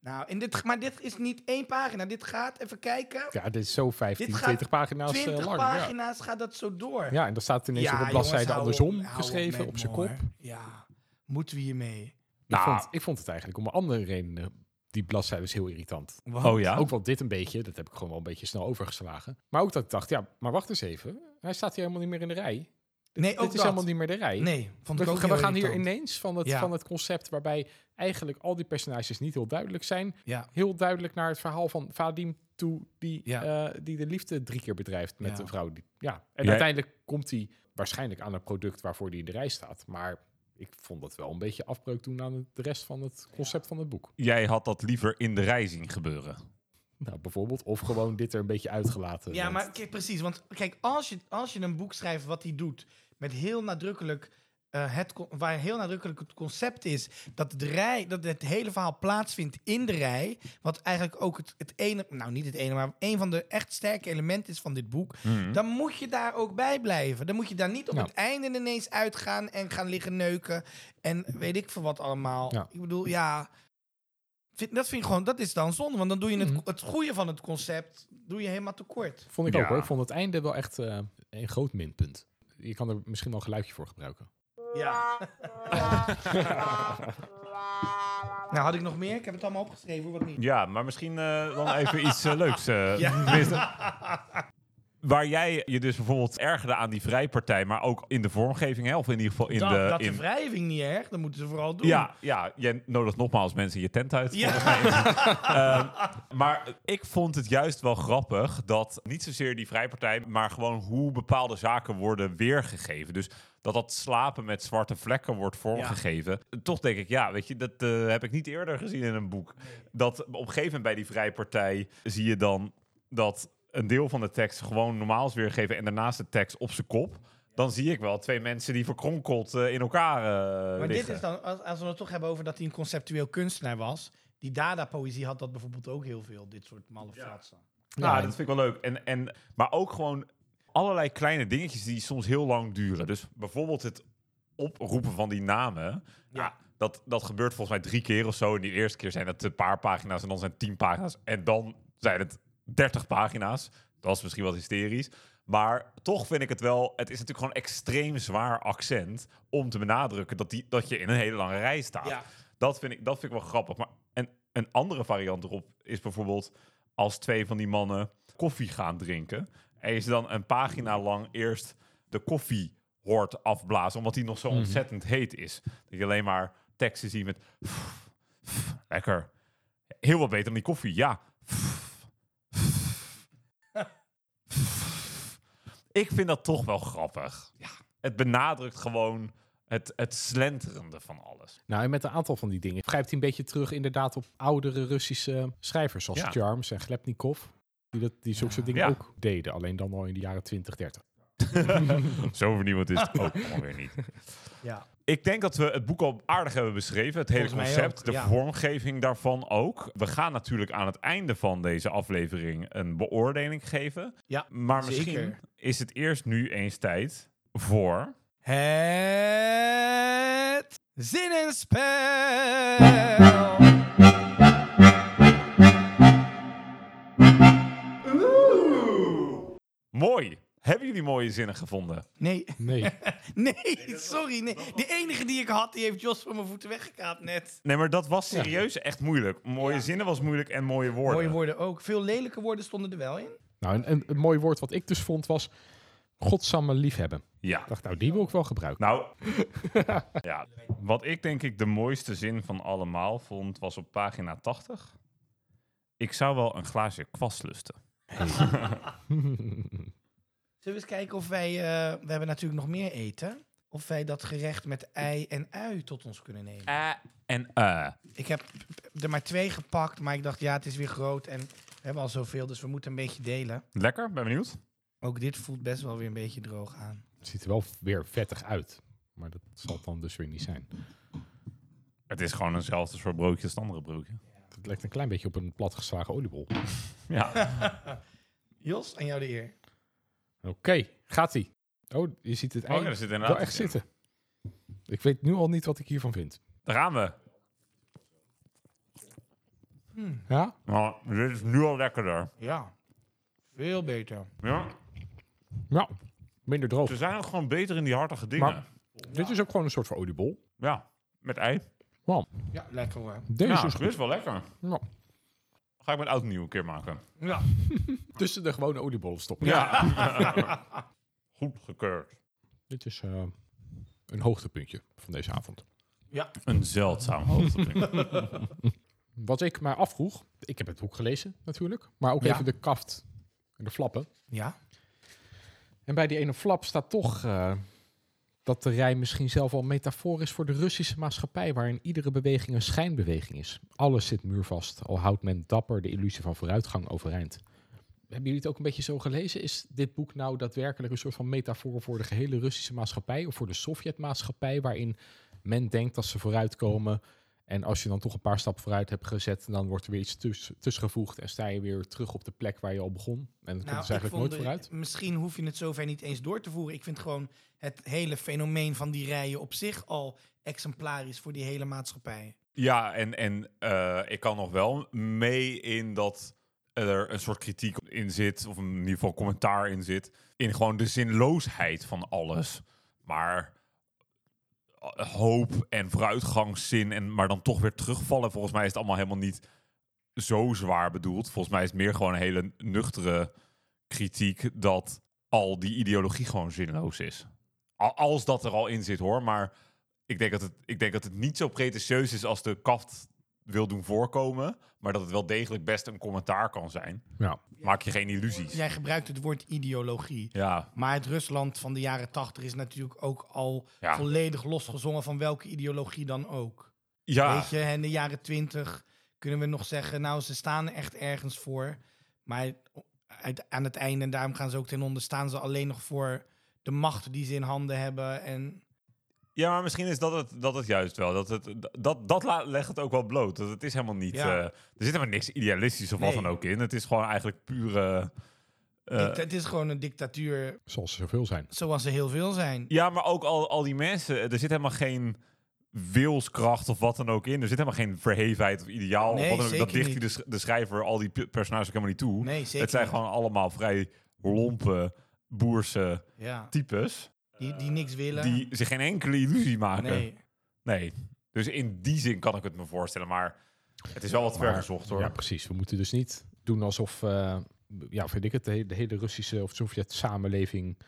Speaker 4: Nou, en dit, maar dit is niet één pagina. Dit gaat, even kijken.
Speaker 2: Ja, dit is zo 15,
Speaker 4: Dit gaat
Speaker 2: 20 pagina's eh,
Speaker 4: 20
Speaker 2: lang. Ja.
Speaker 4: pagina's gaat dat zo door.
Speaker 2: ja, en dan staat het ineens op de
Speaker 4: jongens,
Speaker 2: bladzijde
Speaker 4: hou op,
Speaker 2: andersom
Speaker 4: hou
Speaker 2: geschreven,
Speaker 4: met
Speaker 2: op
Speaker 4: me,
Speaker 2: zijn kop.
Speaker 4: hoor. Ja, moeten we hiermee?
Speaker 2: Ik,
Speaker 3: Nou.
Speaker 2: vond, ik vond het eigenlijk om andere redenen, die bladzijde is heel irritant.
Speaker 3: Oh ja?
Speaker 2: Ook wel dit een beetje, dat heb ik gewoon wel een beetje snel overgeslagen. Maar ook dat ik dacht, ja, maar wacht eens even. Hij staat hier helemaal niet meer in de rij.
Speaker 4: Nee,
Speaker 2: dit
Speaker 4: ook
Speaker 2: is
Speaker 4: dat.
Speaker 2: helemaal niet meer de rij.
Speaker 4: Nee, vond
Speaker 2: We,
Speaker 4: ik ook
Speaker 2: we
Speaker 4: heel
Speaker 2: gaan hier
Speaker 4: irritant.
Speaker 2: ineens van het,
Speaker 4: Ja.
Speaker 2: van het concept waarbij eigenlijk al die personages niet heel duidelijk zijn.
Speaker 4: Ja.
Speaker 2: Heel duidelijk naar het verhaal van Vadim toe, die,
Speaker 4: Ja.
Speaker 2: eh, die de liefde drie keer bedrijft met
Speaker 4: Ja.
Speaker 2: een vrouw. Die, ja. En
Speaker 3: Jij-
Speaker 2: uiteindelijk komt hij waarschijnlijk aan het product waarvoor hij in de rij staat. Maar ik vond dat wel een beetje afbreuk doen aan de rest van het concept van het boek.
Speaker 3: Jij had dat liever in de rij zien gebeuren.
Speaker 2: Nou, bijvoorbeeld. Of gewoon dit er een beetje uitgelaten.
Speaker 4: Ja,
Speaker 2: Want-
Speaker 4: maar kijk, precies. Want kijk, als je, als je een boek schrijft wat hij doet, met heel nadrukkelijk. eh, het, con- waar heel nadrukkelijk het concept is dat, de rij, dat het hele verhaal plaatsvindt in de rij. Wat eigenlijk ook het, het ene, nou niet het ene, maar een van de echt sterke elementen is van dit boek.
Speaker 2: Mhm.
Speaker 4: Dan moet je daar ook bij blijven. Dan moet je daar niet op
Speaker 2: Ja.
Speaker 4: het einde ineens uitgaan en gaan liggen neuken. En weet ik veel wat allemaal.
Speaker 2: Ja.
Speaker 4: Ik bedoel, ja. Vind, dat vind ik gewoon, dat is dan zonde. Want dan doe je het,
Speaker 2: Mhm.
Speaker 4: het goede van het concept, doe je helemaal tekort.
Speaker 2: Vond ik
Speaker 3: Ja.
Speaker 2: ook hoor. Ik vond het einde wel echt eh, een groot minpunt. Je kan er misschien wel een geluidje voor gebruiken.
Speaker 4: Ja. nou, had ik nog meer? Ik heb het allemaal opgeschreven, hoor, wat niet.
Speaker 3: Ja, maar misschien eh, dan even iets eh, leuks.
Speaker 4: *laughs*
Speaker 3: eh, tenminste. Waar jij je dus bijvoorbeeld ergerde aan die vrijpartij, maar ook in de vormgeving, hè, of in ieder geval in
Speaker 4: dat
Speaker 3: de...
Speaker 4: dat de
Speaker 3: in,
Speaker 4: wrijving niet erg, dat moeten ze vooral doen.
Speaker 3: ja, ja, jij nodigt nogmaals mensen je tent uit.
Speaker 4: Ja.
Speaker 3: Maar ik vond het juist wel grappig dat niet zozeer die vrijpartij, maar gewoon hoe bepaalde zaken worden weergegeven. Dus dat dat slapen met zwarte vlekken wordt vormgegeven. Toch denk ik, ja, weet je, dat eh, heb ik niet eerder gezien in een boek. Dat op een gegeven moment bij die vrijpartij zie je dan dat een deel van de tekst gewoon normaal is weergegeven en daarnaast de tekst op zijn kop. dan zie ik wel twee mensen die verkronkeld eh, in elkaar eh
Speaker 4: Maar dit
Speaker 3: liggen.
Speaker 4: is dan, als, als we het toch hebben over dat hij een conceptueel kunstenaar was. Die Dada-poëzie had dat bijvoorbeeld ook heel veel, dit soort malle fratsen.
Speaker 3: Nou, dat vind ik wel leuk. En, en, maar ook gewoon allerlei kleine dingetjes die soms heel lang duren. Dus bijvoorbeeld het oproepen van die namen. Ja. Dat, dat gebeurt volgens mij drie keer of zo. En die eerste keer zijn het een paar pagina's en dan zijn het tien pagina's. En dan zijn het dertig pagina's. Dat is misschien wat hysterisch. Maar toch vind ik het wel... Het is natuurlijk gewoon een extreem zwaar accent... om te benadrukken dat, die, dat je in een hele lange rij staat.
Speaker 4: Ja.
Speaker 3: Dat vind ik, dat vind ik wel grappig. Maar een, een andere variant erop is bijvoorbeeld als twee van die mannen koffie gaan drinken. En ze dan een pagina lang eerst de koffie hoort afblazen, omdat die nog zo ontzettend heet is. Dat je alleen maar teksten ziet met "Pff, pff, lekker. Heel wat beter dan die koffie, ja. Pff, pff, pff. Ik vind dat toch wel grappig. Ja. Het benadrukt gewoon het, het slenterende van alles.
Speaker 2: Nou, en met een aantal van die dingen grijpt hij een beetje terug inderdaad op oudere Russische schrijvers. Zoals
Speaker 3: Ja.
Speaker 2: Charms en Glepnikov. Die, dat, die zulke soort dingen
Speaker 3: Ja.
Speaker 2: ook deden. Alleen dan al in de jaren 20, 30.
Speaker 3: Zo vernieuwend is het ook allemaal weer niet.
Speaker 4: Ja.
Speaker 3: *laughs* Ik denk dat we het boek al aardig hebben beschreven. Het hele
Speaker 4: Volgens mij
Speaker 3: concept,
Speaker 4: ook,
Speaker 3: de
Speaker 4: ja.
Speaker 3: vormgeving daarvan ook. We gaan natuurlijk aan het einde van deze aflevering een beoordeling geven.
Speaker 4: Ja,
Speaker 3: Maar
Speaker 4: zeker.
Speaker 3: misschien is het eerst nu eens tijd voor...
Speaker 4: Het zin en spel.
Speaker 3: Mooi! Hebben jullie mooie zinnen gevonden?
Speaker 4: Nee, *laughs*
Speaker 2: Nee.
Speaker 4: nee, sorry. Nee. De enige die ik had, die heeft Jos van mijn voeten weggekaapt net.
Speaker 3: Nee, maar dat was serieus echt moeilijk. Mooie zinnen was moeilijk en mooie woorden.
Speaker 4: Mooie woorden ook. Veel lelijke woorden stonden er wel in.
Speaker 2: *laughs* nou, een, een, een mooi woord wat ik dus vond was... Godsamme liefhebben.
Speaker 3: Ja.
Speaker 2: Ik dacht, nou, die wil ik wel gebruiken.
Speaker 3: Nou,
Speaker 2: *laughs*
Speaker 3: ja. wat ik denk ik de mooiste zin van allemaal vond, was op pagina 80. Ik zou wel een glaasje kwast lusten.
Speaker 4: Zullen we eens kijken of wij... eh, we hebben natuurlijk nog meer eten. Of wij dat gerecht met ei en ui tot ons kunnen nemen.
Speaker 3: en eh.
Speaker 4: Ik heb er maar twee gepakt, maar ik dacht, ja, het is weer groot. En we hebben al zoveel, dus we moeten een beetje delen.
Speaker 3: Lekker, ben benieuwd.
Speaker 4: Ook dit voelt best wel weer een beetje droog aan.
Speaker 2: Het ziet er wel weer vettig uit. Maar dat zal het dan dus weer niet zijn.
Speaker 3: Het is gewoon eenzelfde soort broodje als het andere broodje.
Speaker 2: Het lijkt een klein beetje op een platgeslagen oliebol. Oké, *laughs*
Speaker 3: Ja,
Speaker 4: Jos, aan jou de eer.
Speaker 2: gaat-ie. Oh, je ziet het
Speaker 3: oh,
Speaker 2: eind.
Speaker 3: er zit inderdaad
Speaker 2: wel
Speaker 3: iets
Speaker 2: echt
Speaker 3: in.
Speaker 2: zitten. Ik weet nu al niet wat ik hiervan vind.
Speaker 3: Daar gaan we.
Speaker 2: Ja?
Speaker 3: Nou, dit is nu al lekkerder.
Speaker 4: Ja, veel beter.
Speaker 3: Ja,
Speaker 2: Nou, minder droog.
Speaker 3: ze zijn ook gewoon beter in die hartige dingen.
Speaker 2: Maar- Dit is ook gewoon een soort van oliebol.
Speaker 3: Ja, met ei.
Speaker 4: Ja, lekker hoor.
Speaker 2: Deze
Speaker 3: Ja,
Speaker 2: is
Speaker 3: dit
Speaker 2: goed.
Speaker 3: is wel lekker.
Speaker 2: Nou,
Speaker 3: Ga ik met oud en nieuw een keer maken.
Speaker 4: Ja.
Speaker 2: tussen de gewone oliebollen stoppen.
Speaker 3: *laughs* Goed gekeurd.
Speaker 2: Dit is eh, een hoogtepuntje van deze avond.
Speaker 3: Een zeldzaam hoogtepunt.
Speaker 2: Wat ik mij afvroeg, ik heb het boek gelezen natuurlijk, maar ook
Speaker 4: Ja.
Speaker 2: even de kaft en de flappen.
Speaker 4: Ja?
Speaker 2: En bij die ene flap staat toch eh, dat de rij misschien zelf al metafoor is voor de Russische maatschappij, waarin iedere beweging een schijnbeweging is. Alles zit muurvast, al houdt men dapper de illusie van vooruitgang overeind. Hebben jullie het ook een beetje zo gelezen? Is dit boek nou daadwerkelijk een soort van metafoor voor de gehele Russische maatschappij of voor de Sovjetmaatschappij, waarin men denkt dat ze vooruitkomen en als je dan toch een paar stappen vooruit hebt gezet, dan wordt er weer iets tuss- tussengevoegd en sta je weer terug op de plek waar je al begon. En dan komt
Speaker 4: Nou,
Speaker 2: dus
Speaker 4: ik
Speaker 2: eigenlijk
Speaker 4: vond
Speaker 2: nooit
Speaker 4: er-
Speaker 2: vooruit.
Speaker 4: Misschien hoef je het zover niet eens door te voeren. Ik vind gewoon het hele fenomeen van die rijen op zich al exemplarisch voor die hele maatschappij.
Speaker 3: Ja, en, en eh, ik kan nog wel mee in dat er een soort kritiek in zit, of in ieder geval commentaar in zit, in gewoon de zinloosheid van alles. Maar eh, hoop en vooruitgangszin, en, maar dan toch weer terugvallen, volgens mij is het allemaal helemaal niet zo zwaar bedoeld. Volgens mij is het meer gewoon een hele nuchtere kritiek dat al die ideologie gewoon zinloos is. Al- Als dat er al in zit hoor, maar ik denk dat het, ik denk dat het niet zo pretentieus is als de kaft wil doen voorkomen, maar dat het wel degelijk best een commentaar kan zijn.
Speaker 2: Ja.
Speaker 3: Maak je geen illusies.
Speaker 4: Jij gebruikt het woord ideologie.
Speaker 3: Ja,
Speaker 4: Maar het Rusland van de jaren tachtig is natuurlijk ook al
Speaker 3: Ja.
Speaker 4: volledig losgezongen van welke ideologie dan ook.
Speaker 3: ja.
Speaker 4: Weet je, in de jaren twintig kunnen we nog zeggen, nou, ze staan echt ergens voor. Maar uit- aan het einde, en daarom gaan ze ook ten onder, staan ze alleen nog voor de macht die ze in handen hebben. En
Speaker 3: Ja, maar misschien is dat het, dat het juist wel. Dat, het, dat, dat la- legt het ook wel bloot. Dat het is helemaal niet...
Speaker 4: Ja.
Speaker 3: eh, er zit helemaal niks idealistisch of
Speaker 4: Nee.
Speaker 3: wat dan ook in. Het is gewoon eigenlijk pure... eh,
Speaker 4: dict- het is gewoon een dictatuur
Speaker 2: Zoals er zoveel zijn.
Speaker 4: zoals er heel veel zijn.
Speaker 3: ja, maar ook al, al die mensen. Er zit helemaal geen wilskracht of wat dan ook in. Er zit helemaal geen verhevenheid of ideaal.
Speaker 4: Nee,
Speaker 3: of wat dan ook. Dat
Speaker 4: zeker
Speaker 3: dicht
Speaker 4: niet.
Speaker 3: hij de, sch- de schrijver, al die pe- personages ook helemaal niet toe.
Speaker 4: Nee, zeker
Speaker 3: het zijn
Speaker 4: niet.
Speaker 3: gewoon allemaal vrij lompe, boerse
Speaker 4: Ja,
Speaker 3: types.
Speaker 4: die, die niks willen.
Speaker 3: Die zich geen enkele illusie maken.
Speaker 4: nee.
Speaker 3: Nee. Dus in die zin kan ik het me voorstellen, maar het is wel wat ver
Speaker 2: Maar-
Speaker 3: gezocht hoor.
Speaker 2: Ja, precies. We moeten dus niet doen alsof, eh, ja, vind ik het, de he- de hele Russische of Sovjet-samenleving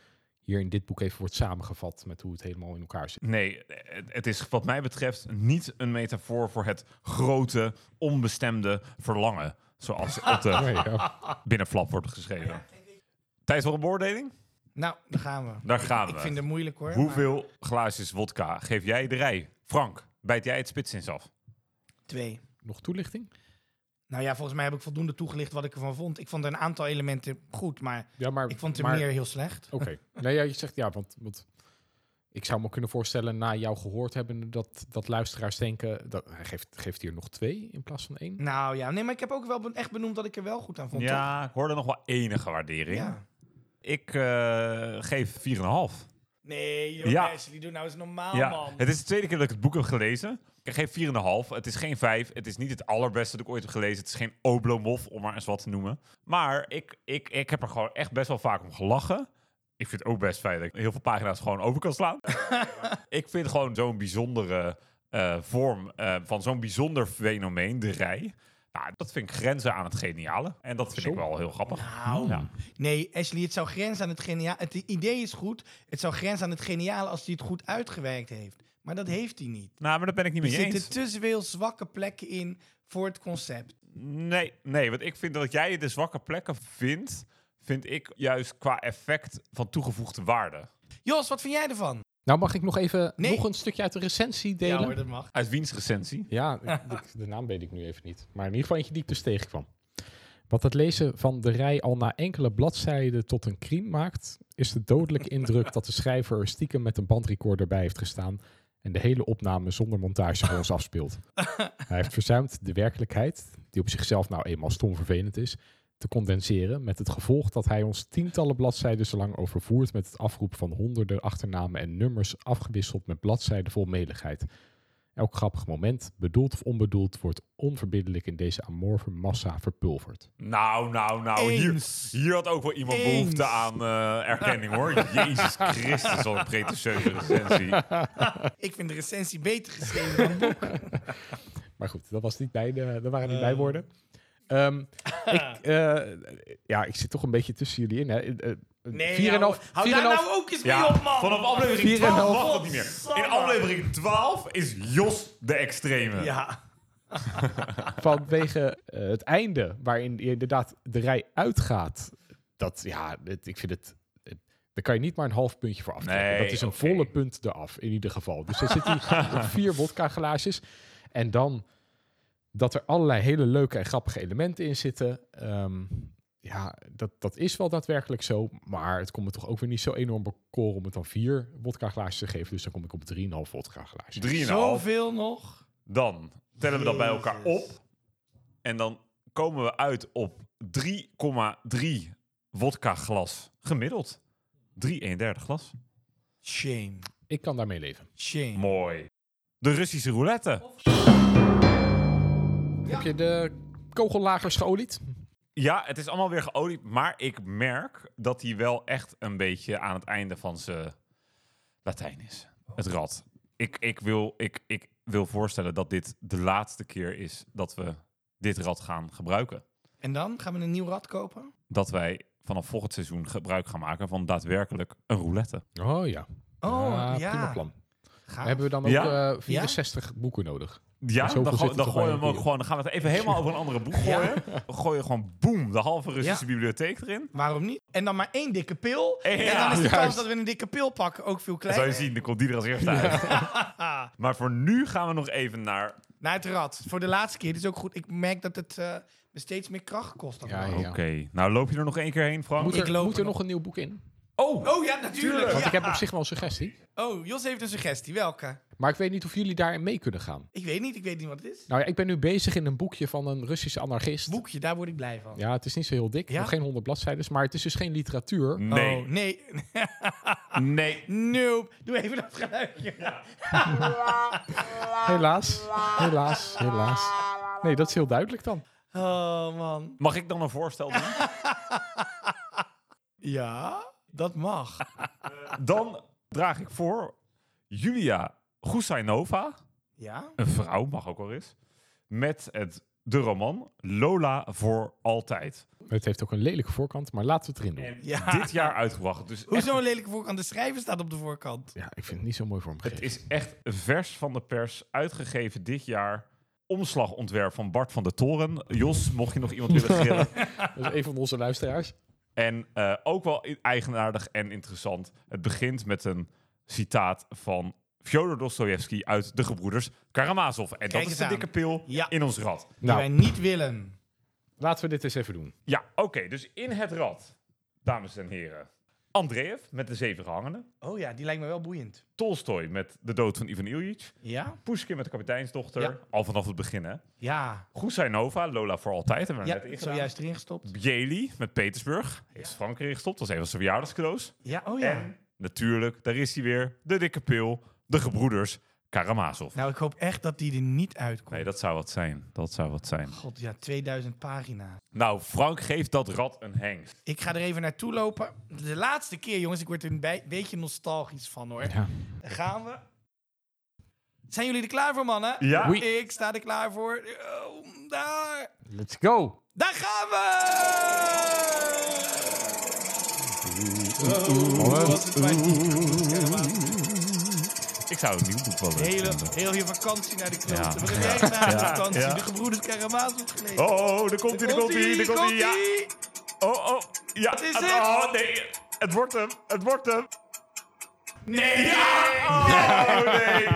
Speaker 2: hier in dit boek even wordt samengevat met hoe het helemaal in elkaar zit.
Speaker 3: Nee, het, het is wat mij betreft niet een metafoor voor het grote, onbestemde verlangen. Zoals op de
Speaker 2: Nee, ja.
Speaker 3: binnenflap wordt geschreven. Tijd voor een beoordeling?
Speaker 4: Nou, daar gaan we.
Speaker 3: Daar gaan we.
Speaker 4: Ik vind het moeilijk hoor. maar
Speaker 3: Hoeveel glaasjes wodka geef jij de rij? Frank, bijt jij het spitsins af?
Speaker 4: Twee.
Speaker 2: *laughs* Nog toelichting?
Speaker 4: Nou ja, volgens mij heb ik voldoende toegelicht wat ik ervan vond. Ik vond er een aantal elementen goed, maar
Speaker 2: Ja, maar,
Speaker 4: ik vond er
Speaker 2: maar-
Speaker 4: meer heel slecht.
Speaker 2: Oké. Nee, ja, je zegt ja, want, want ik zou me kunnen voorstellen na jou gehoord hebben dat, dat luisteraars denken, dat, hij geeft, geeft hier nog twee in plaats van één.
Speaker 4: Nou ja, nee, maar ik heb ook wel be- echt benoemd dat ik er wel goed aan vond. toch?
Speaker 3: Ja, ik hoorde nog wel enige waardering.
Speaker 4: ja.
Speaker 3: Ik eh, geef 4,5.
Speaker 4: Nee, joh,
Speaker 3: Ja.
Speaker 4: Ashley, doe nou eens normaal,
Speaker 3: Ja,
Speaker 4: man.
Speaker 3: het is de tweede keer dat ik het boek heb gelezen. Ik geef 4,5. Het is geen 5. Het is niet het allerbeste dat ik ooit heb gelezen. Het is geen Oblomov, om maar eens wat te noemen. Maar ik, ik, ik heb er gewoon echt best wel vaak om gelachen. Ik vind het ook best fijn dat ik heel veel pagina's gewoon over kan
Speaker 4: *laughs*
Speaker 3: slaan. ik vind gewoon zo'n bijzondere eh, vorm eh, van zo'n bijzonder fenomeen, de rij. Nou, dat vind ik grenzen aan het geniale. En dat vind ik wel heel grappig.
Speaker 4: Nou,
Speaker 3: Ja.
Speaker 4: nee, Ashley, het zou grenzen aan het geniaal. Het idee is goed. Het zou grenzen aan het geniale als hij het goed uitgewerkt heeft. Maar dat heeft hij niet.
Speaker 3: Nou, maar dat ben ik niet
Speaker 4: Er
Speaker 3: mee eens.
Speaker 4: zitten te veel zwakke plekken in voor het concept.
Speaker 3: Nee, nee, want ik vind dat jij de zwakke plekken vindt, vind ik juist qua effect van toegevoegde waarde.
Speaker 4: Jos, wat vind jij ervan?
Speaker 2: Nou, mag ik nog even
Speaker 4: Nee.
Speaker 2: nog een stukje uit de recensie delen?
Speaker 4: Ja hoor, dat mag.
Speaker 3: Uit wiens recensie?
Speaker 2: Ja, ik- de naam weet ik nu even niet. Maar in ieder geval eentje die ik dus tegenkwam. Wat het lezen van de rij al na enkele bladzijden tot een crime maakt, is de dodelijke indruk dat de schrijver er stiekem met een bandrecorder bij heeft gestaan en de hele opname zonder montage voor ons afspeelt. Hij heeft verzuimd de werkelijkheid, die op zichzelf nou eenmaal stom vervelend is, te condenseren met het gevolg dat hij ons tientallen bladzijden zo lang overvoert met het afroep van honderden achternamen en nummers afgewisseld met bladzijden vol meligheid. Elk grappig moment, bedoeld of onbedoeld, wordt onverbiddelijk in deze amorfe massa verpulverd.
Speaker 3: Nou, nou, nou, hier,
Speaker 4: Eens.
Speaker 3: hier had ook wel iemand
Speaker 4: Eens.
Speaker 3: behoefte aan eh, erkenning
Speaker 4: *laughs*
Speaker 3: hoor. Jezus Christus, wat een pretentieuze recensie.
Speaker 4: Ik vind de recensie beter geschreven dan het boek.
Speaker 2: Maar goed, dat, was niet bij de, dat waren niet
Speaker 4: Eh.
Speaker 2: bijwoorden. Ehm, ik, eh, ja, ik zit toch een beetje tussen jullie in. Hè. Eh, eh,
Speaker 4: Nee,
Speaker 2: 4,5
Speaker 4: nou, hou daar
Speaker 2: 4,5
Speaker 4: nou ook eens mee
Speaker 3: Ja,
Speaker 4: op, man.
Speaker 3: vanaf aflevering
Speaker 2: 4,5.
Speaker 3: 12 mag dat niet meer. In aflevering 12 is Jos de extreme.
Speaker 4: Ja.
Speaker 2: vanwege eh, het einde, waarin je inderdaad de rij uitgaat. Dat, ja, het- ik vind het... het- Daar kan je niet maar een half puntje voor aftrekken.
Speaker 3: Nee,
Speaker 2: dat is een
Speaker 3: oké.
Speaker 2: volle punt eraf, in ieder geval. Dus er zitten hier
Speaker 3: *laughs*
Speaker 2: op vier wodka glaasjes. En dan dat er allerlei hele leuke en grappige elementen in zitten. Ehm, ja, dat, dat is wel daadwerkelijk zo. Maar het komt me toch ook weer niet zo enorm bekoren om het dan vier wodka glaasjes te geven. Dus dan kom ik op 3,5 wodka glaasjes.
Speaker 3: 3,5.
Speaker 4: Zoveel nog.
Speaker 3: Dan tellen we dat bij elkaar op.
Speaker 4: Jezus.
Speaker 3: En dan komen we uit op 3,3 wodka glas gemiddeld. 3,31 glas.
Speaker 4: Shame.
Speaker 2: Ik kan daarmee leven.
Speaker 4: Shame.
Speaker 3: Mooi. De Russische roulette.
Speaker 2: Heb je de kogellagers geolied?
Speaker 3: Ja, het is allemaal weer geolied. Maar ik merk dat hij wel echt een beetje aan het einde van zijn Latijn is. Het rad. Ik, ik, wil, ik, ik wil voorstellen dat dit de laatste keer is dat we dit rad gaan gebruiken.
Speaker 4: En dan gaan we een nieuw rad kopen?
Speaker 3: Dat wij vanaf volgend seizoen gebruik gaan maken van daadwerkelijk een roulette.
Speaker 2: Oh ja.
Speaker 4: Oh,
Speaker 2: Ah,
Speaker 4: ja.
Speaker 2: Prima plan.
Speaker 4: Gaaf.
Speaker 2: Hebben we dan ook
Speaker 3: Ja?
Speaker 2: eh, 64 boeken nodig?
Speaker 3: Ja,
Speaker 2: Zoveel
Speaker 3: dan,
Speaker 2: zit
Speaker 3: go-
Speaker 2: er
Speaker 3: dan
Speaker 2: toch
Speaker 3: gooien we
Speaker 2: wel
Speaker 3: hem ook
Speaker 2: in.
Speaker 3: gewoon. Dan gaan we het even helemaal over een andere boek gooien. We gooien gewoon boem, de halve Russische
Speaker 4: Ja.
Speaker 3: bibliotheek erin.
Speaker 4: Waarom niet? En dan maar één dikke pil.
Speaker 3: Ja,
Speaker 4: en dan is de kans
Speaker 2: juist.
Speaker 4: dat we een dikke pil pakken ook veel
Speaker 3: Dan zou je
Speaker 4: kleiner.
Speaker 3: zien, dan komt die er als eerste uit. *laughs* Maar voor nu gaan we nog even naar.
Speaker 4: Naar Nou, het rad. Voor de laatste keer. Het is ook goed. Ik merk dat het eh, me steeds meer kracht kost. dan
Speaker 2: Ja,
Speaker 4: wel.
Speaker 2: ja.
Speaker 3: Oké, nou loop je er nog één keer heen, Frank?
Speaker 2: Moet
Speaker 4: Ik
Speaker 2: er,
Speaker 4: loop
Speaker 2: moet er
Speaker 4: nog.
Speaker 2: nog een nieuw boek in?
Speaker 3: Oh,
Speaker 4: Oh ja, natuurlijk.
Speaker 3: Tuurlijk,
Speaker 2: Want ik
Speaker 4: ja.
Speaker 2: heb op zich wel een suggestie.
Speaker 4: Oh, Jos heeft een suggestie. Welke?
Speaker 2: Maar ik weet niet of jullie daarin mee kunnen gaan.
Speaker 4: Ik weet niet, ik weet niet wat het is.
Speaker 2: Nou ja, ik ben nu bezig in een boekje van een Russische anarchist.
Speaker 4: Boekje, daar word ik blij van.
Speaker 2: Ja, het is niet zo heel dik.
Speaker 4: Ja?
Speaker 2: Nog geen honderd bladzijden. Maar het is dus geen literatuur.
Speaker 3: nee.
Speaker 4: Oh, nee. *laughs*
Speaker 3: Nee.
Speaker 4: nope. Doe even dat geluidje.
Speaker 2: Helaas. Helaas. Helaas. Nee, dat is heel duidelijk dan.
Speaker 4: Oh, man.
Speaker 3: Mag ik dan een voorstel
Speaker 2: *laughs*
Speaker 3: doen?
Speaker 4: Ja, dat mag.
Speaker 3: Dan draag ik voor Julia Gusainova,
Speaker 4: Ja?
Speaker 3: een vrouw, mag ook wel eens, met het, de roman Lola voor altijd.
Speaker 2: Het heeft ook een lelijke voorkant, maar laten we het erin doen.
Speaker 4: Ja.
Speaker 3: Dit jaar uitgebracht. Dus echt,
Speaker 4: Hoezo een lelijke voorkant? De schrijver staat op de voorkant.
Speaker 2: Ja, ik vind het niet zo mooi voor
Speaker 3: het is echt vers van de pers, uitgegeven dit jaar. Omslagontwerp van Bart van de Toren. Jos, mocht je nog iemand willen
Speaker 4: *laughs*
Speaker 3: grillen.
Speaker 2: Dat is een van onze luisteraars.
Speaker 3: En eh, ook wel i- eigenaardig en interessant. Het begint met een citaat van Fyodor Dostoevsky uit De Gebroeders Karamazov. En
Speaker 4: Kijk
Speaker 3: dat is
Speaker 4: eens
Speaker 3: de
Speaker 4: aan.
Speaker 3: dikke pil
Speaker 4: Ja.
Speaker 3: in ons rad.
Speaker 4: Die
Speaker 2: Nou.
Speaker 4: wij niet willen.
Speaker 2: Laten we dit eens even doen.
Speaker 3: Ja, oké. dus in het rad, dames en heren. Andreev met de zeven gehangenen.
Speaker 4: Oh ja, die lijkt me wel boeiend.
Speaker 3: Tolstoy met de dood van Ivan Ilyich.
Speaker 4: Ja?
Speaker 3: Pushkin met de kapiteinsdochter.
Speaker 4: Ja.
Speaker 3: Al vanaf het begin, hè.
Speaker 4: Ja.
Speaker 3: Gusainova, Lola voor altijd. Hebben we
Speaker 4: Ja,
Speaker 3: net
Speaker 4: ik
Speaker 3: ingedaan.
Speaker 4: zojuist erin gestopt.
Speaker 3: Bjely met Petersburg. Heeft Frankrijk gestopt. Dat is een van zijn verjaardagscadeaus.
Speaker 4: Ja, oh ja.
Speaker 3: En natuurlijk, daar is hij weer. De dikke pil. De gebroeders. Karamazov.
Speaker 4: Nou, ik hoop echt dat die er niet uitkomt.
Speaker 3: Nee, dat zou wat zijn. Dat zou wat zijn.
Speaker 4: God, ja, 2000 pagina.
Speaker 3: Nou, Frank geeft dat rad een hengst.
Speaker 4: Ik ga er even naartoe lopen. De laatste keer, jongens. Ik word er een bij- beetje nostalgisch van, hoor.
Speaker 2: Ja.
Speaker 4: Dan gaan we. Zijn jullie er klaar voor, mannen?
Speaker 3: Ja.
Speaker 2: Oei.
Speaker 4: Ik sta er klaar voor. Oh, daar.
Speaker 2: Let's go.
Speaker 4: Daar gaan we! Oh,
Speaker 3: Ik zou een nieuw boek wel leuk
Speaker 4: Hele,
Speaker 3: vinden.
Speaker 4: heel je vakantie naar de knoten.
Speaker 3: Ja.
Speaker 4: Wat heb jij gedaan op
Speaker 3: Ja.
Speaker 4: vakantie?
Speaker 3: Ja.
Speaker 4: De gebroeders Karamazov gelezen.
Speaker 3: Oh, daar komt hij, daar komt hij, daar komt hij. Ja. Oh, oh. Ja. Wat
Speaker 4: is dit?
Speaker 3: Oh, nee. Het wordt hem. Het wordt hem. Nee. Oh, nee.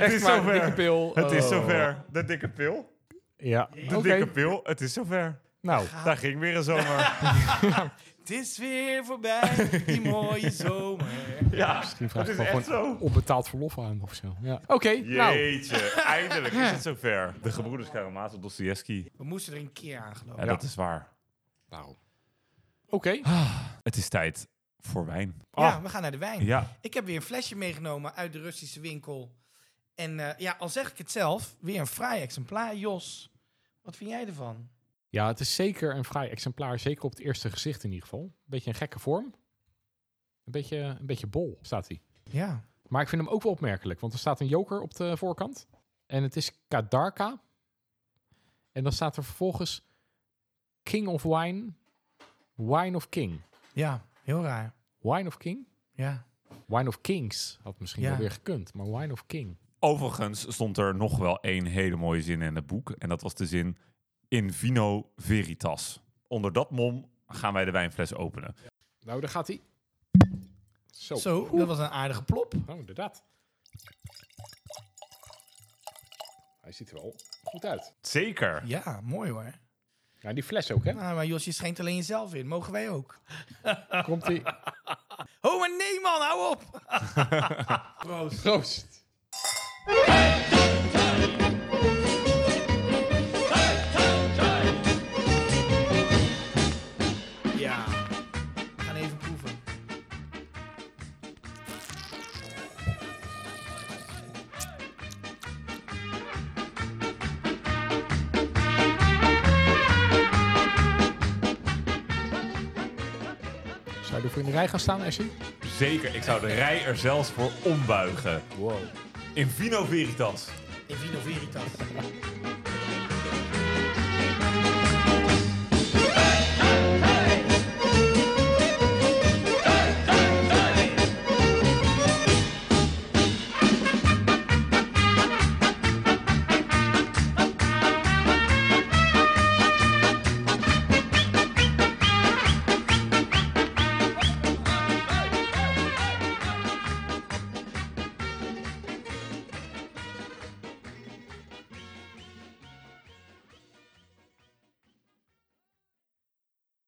Speaker 3: Het is
Speaker 2: maar,
Speaker 3: zover.
Speaker 2: dikke pil.
Speaker 3: Het is
Speaker 2: Oh.
Speaker 3: zover. De dikke pil.
Speaker 2: Ja.
Speaker 3: De
Speaker 2: Oké.
Speaker 3: dikke pil. Het is zover.
Speaker 2: Nou,
Speaker 3: Daar ging weer een zomer.
Speaker 4: Het is weer voorbij,
Speaker 3: *laughs*
Speaker 4: die mooie zomer.
Speaker 3: ja,
Speaker 2: misschien vraag ik
Speaker 3: het
Speaker 2: wel
Speaker 3: is echt
Speaker 2: gewoon
Speaker 3: zo.
Speaker 2: onbetaald verlof aan of zo. Ja. Oké, nou.
Speaker 3: Jeetje,
Speaker 2: *laughs*
Speaker 3: eindelijk is het zover. De gebroeders Karamazov Dostoevsky.
Speaker 4: We moesten er een keer aan geloven.
Speaker 3: Ja, dat is waar.
Speaker 2: nou. Oké.
Speaker 3: Het is tijd voor wijn.
Speaker 4: Ja, we gaan naar de wijn.
Speaker 3: Ah. Ja,
Speaker 4: Ik heb weer een flesje meegenomen uit de Russische winkel. En eh, ja, al zeg ik het zelf, weer een fraai exemplaar. Jos, wat vind jij ervan?
Speaker 2: Ja, het is zeker een fraai exemplaar. Zeker op het eerste gezicht in ieder geval. Een beetje een gekke vorm. Een beetje, een beetje bol staat hij.
Speaker 4: Ja.
Speaker 2: Maar ik vind hem ook wel opmerkelijk. Want er staat een joker op de voorkant. En het is Kadarka. En dan staat er vervolgens King of Wine. Wine of King.
Speaker 4: Ja, heel raar.
Speaker 2: Wine of King?
Speaker 4: Ja.
Speaker 2: Wine of Kings had misschien
Speaker 4: Ja.
Speaker 2: wel weer gekund. Maar Wine of King.
Speaker 3: overigens stond er nog wel één hele mooie zin in het boek. En dat was de zin in vino veritas. Onder dat mom gaan wij de wijnfles openen.
Speaker 2: Nou, daar gaat hij. Zo.
Speaker 4: Oh. Zo, dat was een aardige plop.
Speaker 2: Nou, inderdaad. Hij ziet er wel goed uit.
Speaker 3: Zeker.
Speaker 4: Ja, mooi hoor.
Speaker 2: Ja, die fles ook, hè?
Speaker 4: Nou, maar Jos, je schijnt alleen jezelf in. Mogen wij ook?
Speaker 2: Komt *laughs* hij.
Speaker 4: Oh, maar nee man, hou op! Proost.
Speaker 2: Proost.
Speaker 4: Ja. We gaan even proeven.
Speaker 2: Zou je ervoor in de rij gaan staan, Ashley?
Speaker 3: Zeker. Ik zou de rij er zelfs voor ombuigen.
Speaker 2: Wow.
Speaker 3: In vino veritas.
Speaker 4: In Vino Veritas.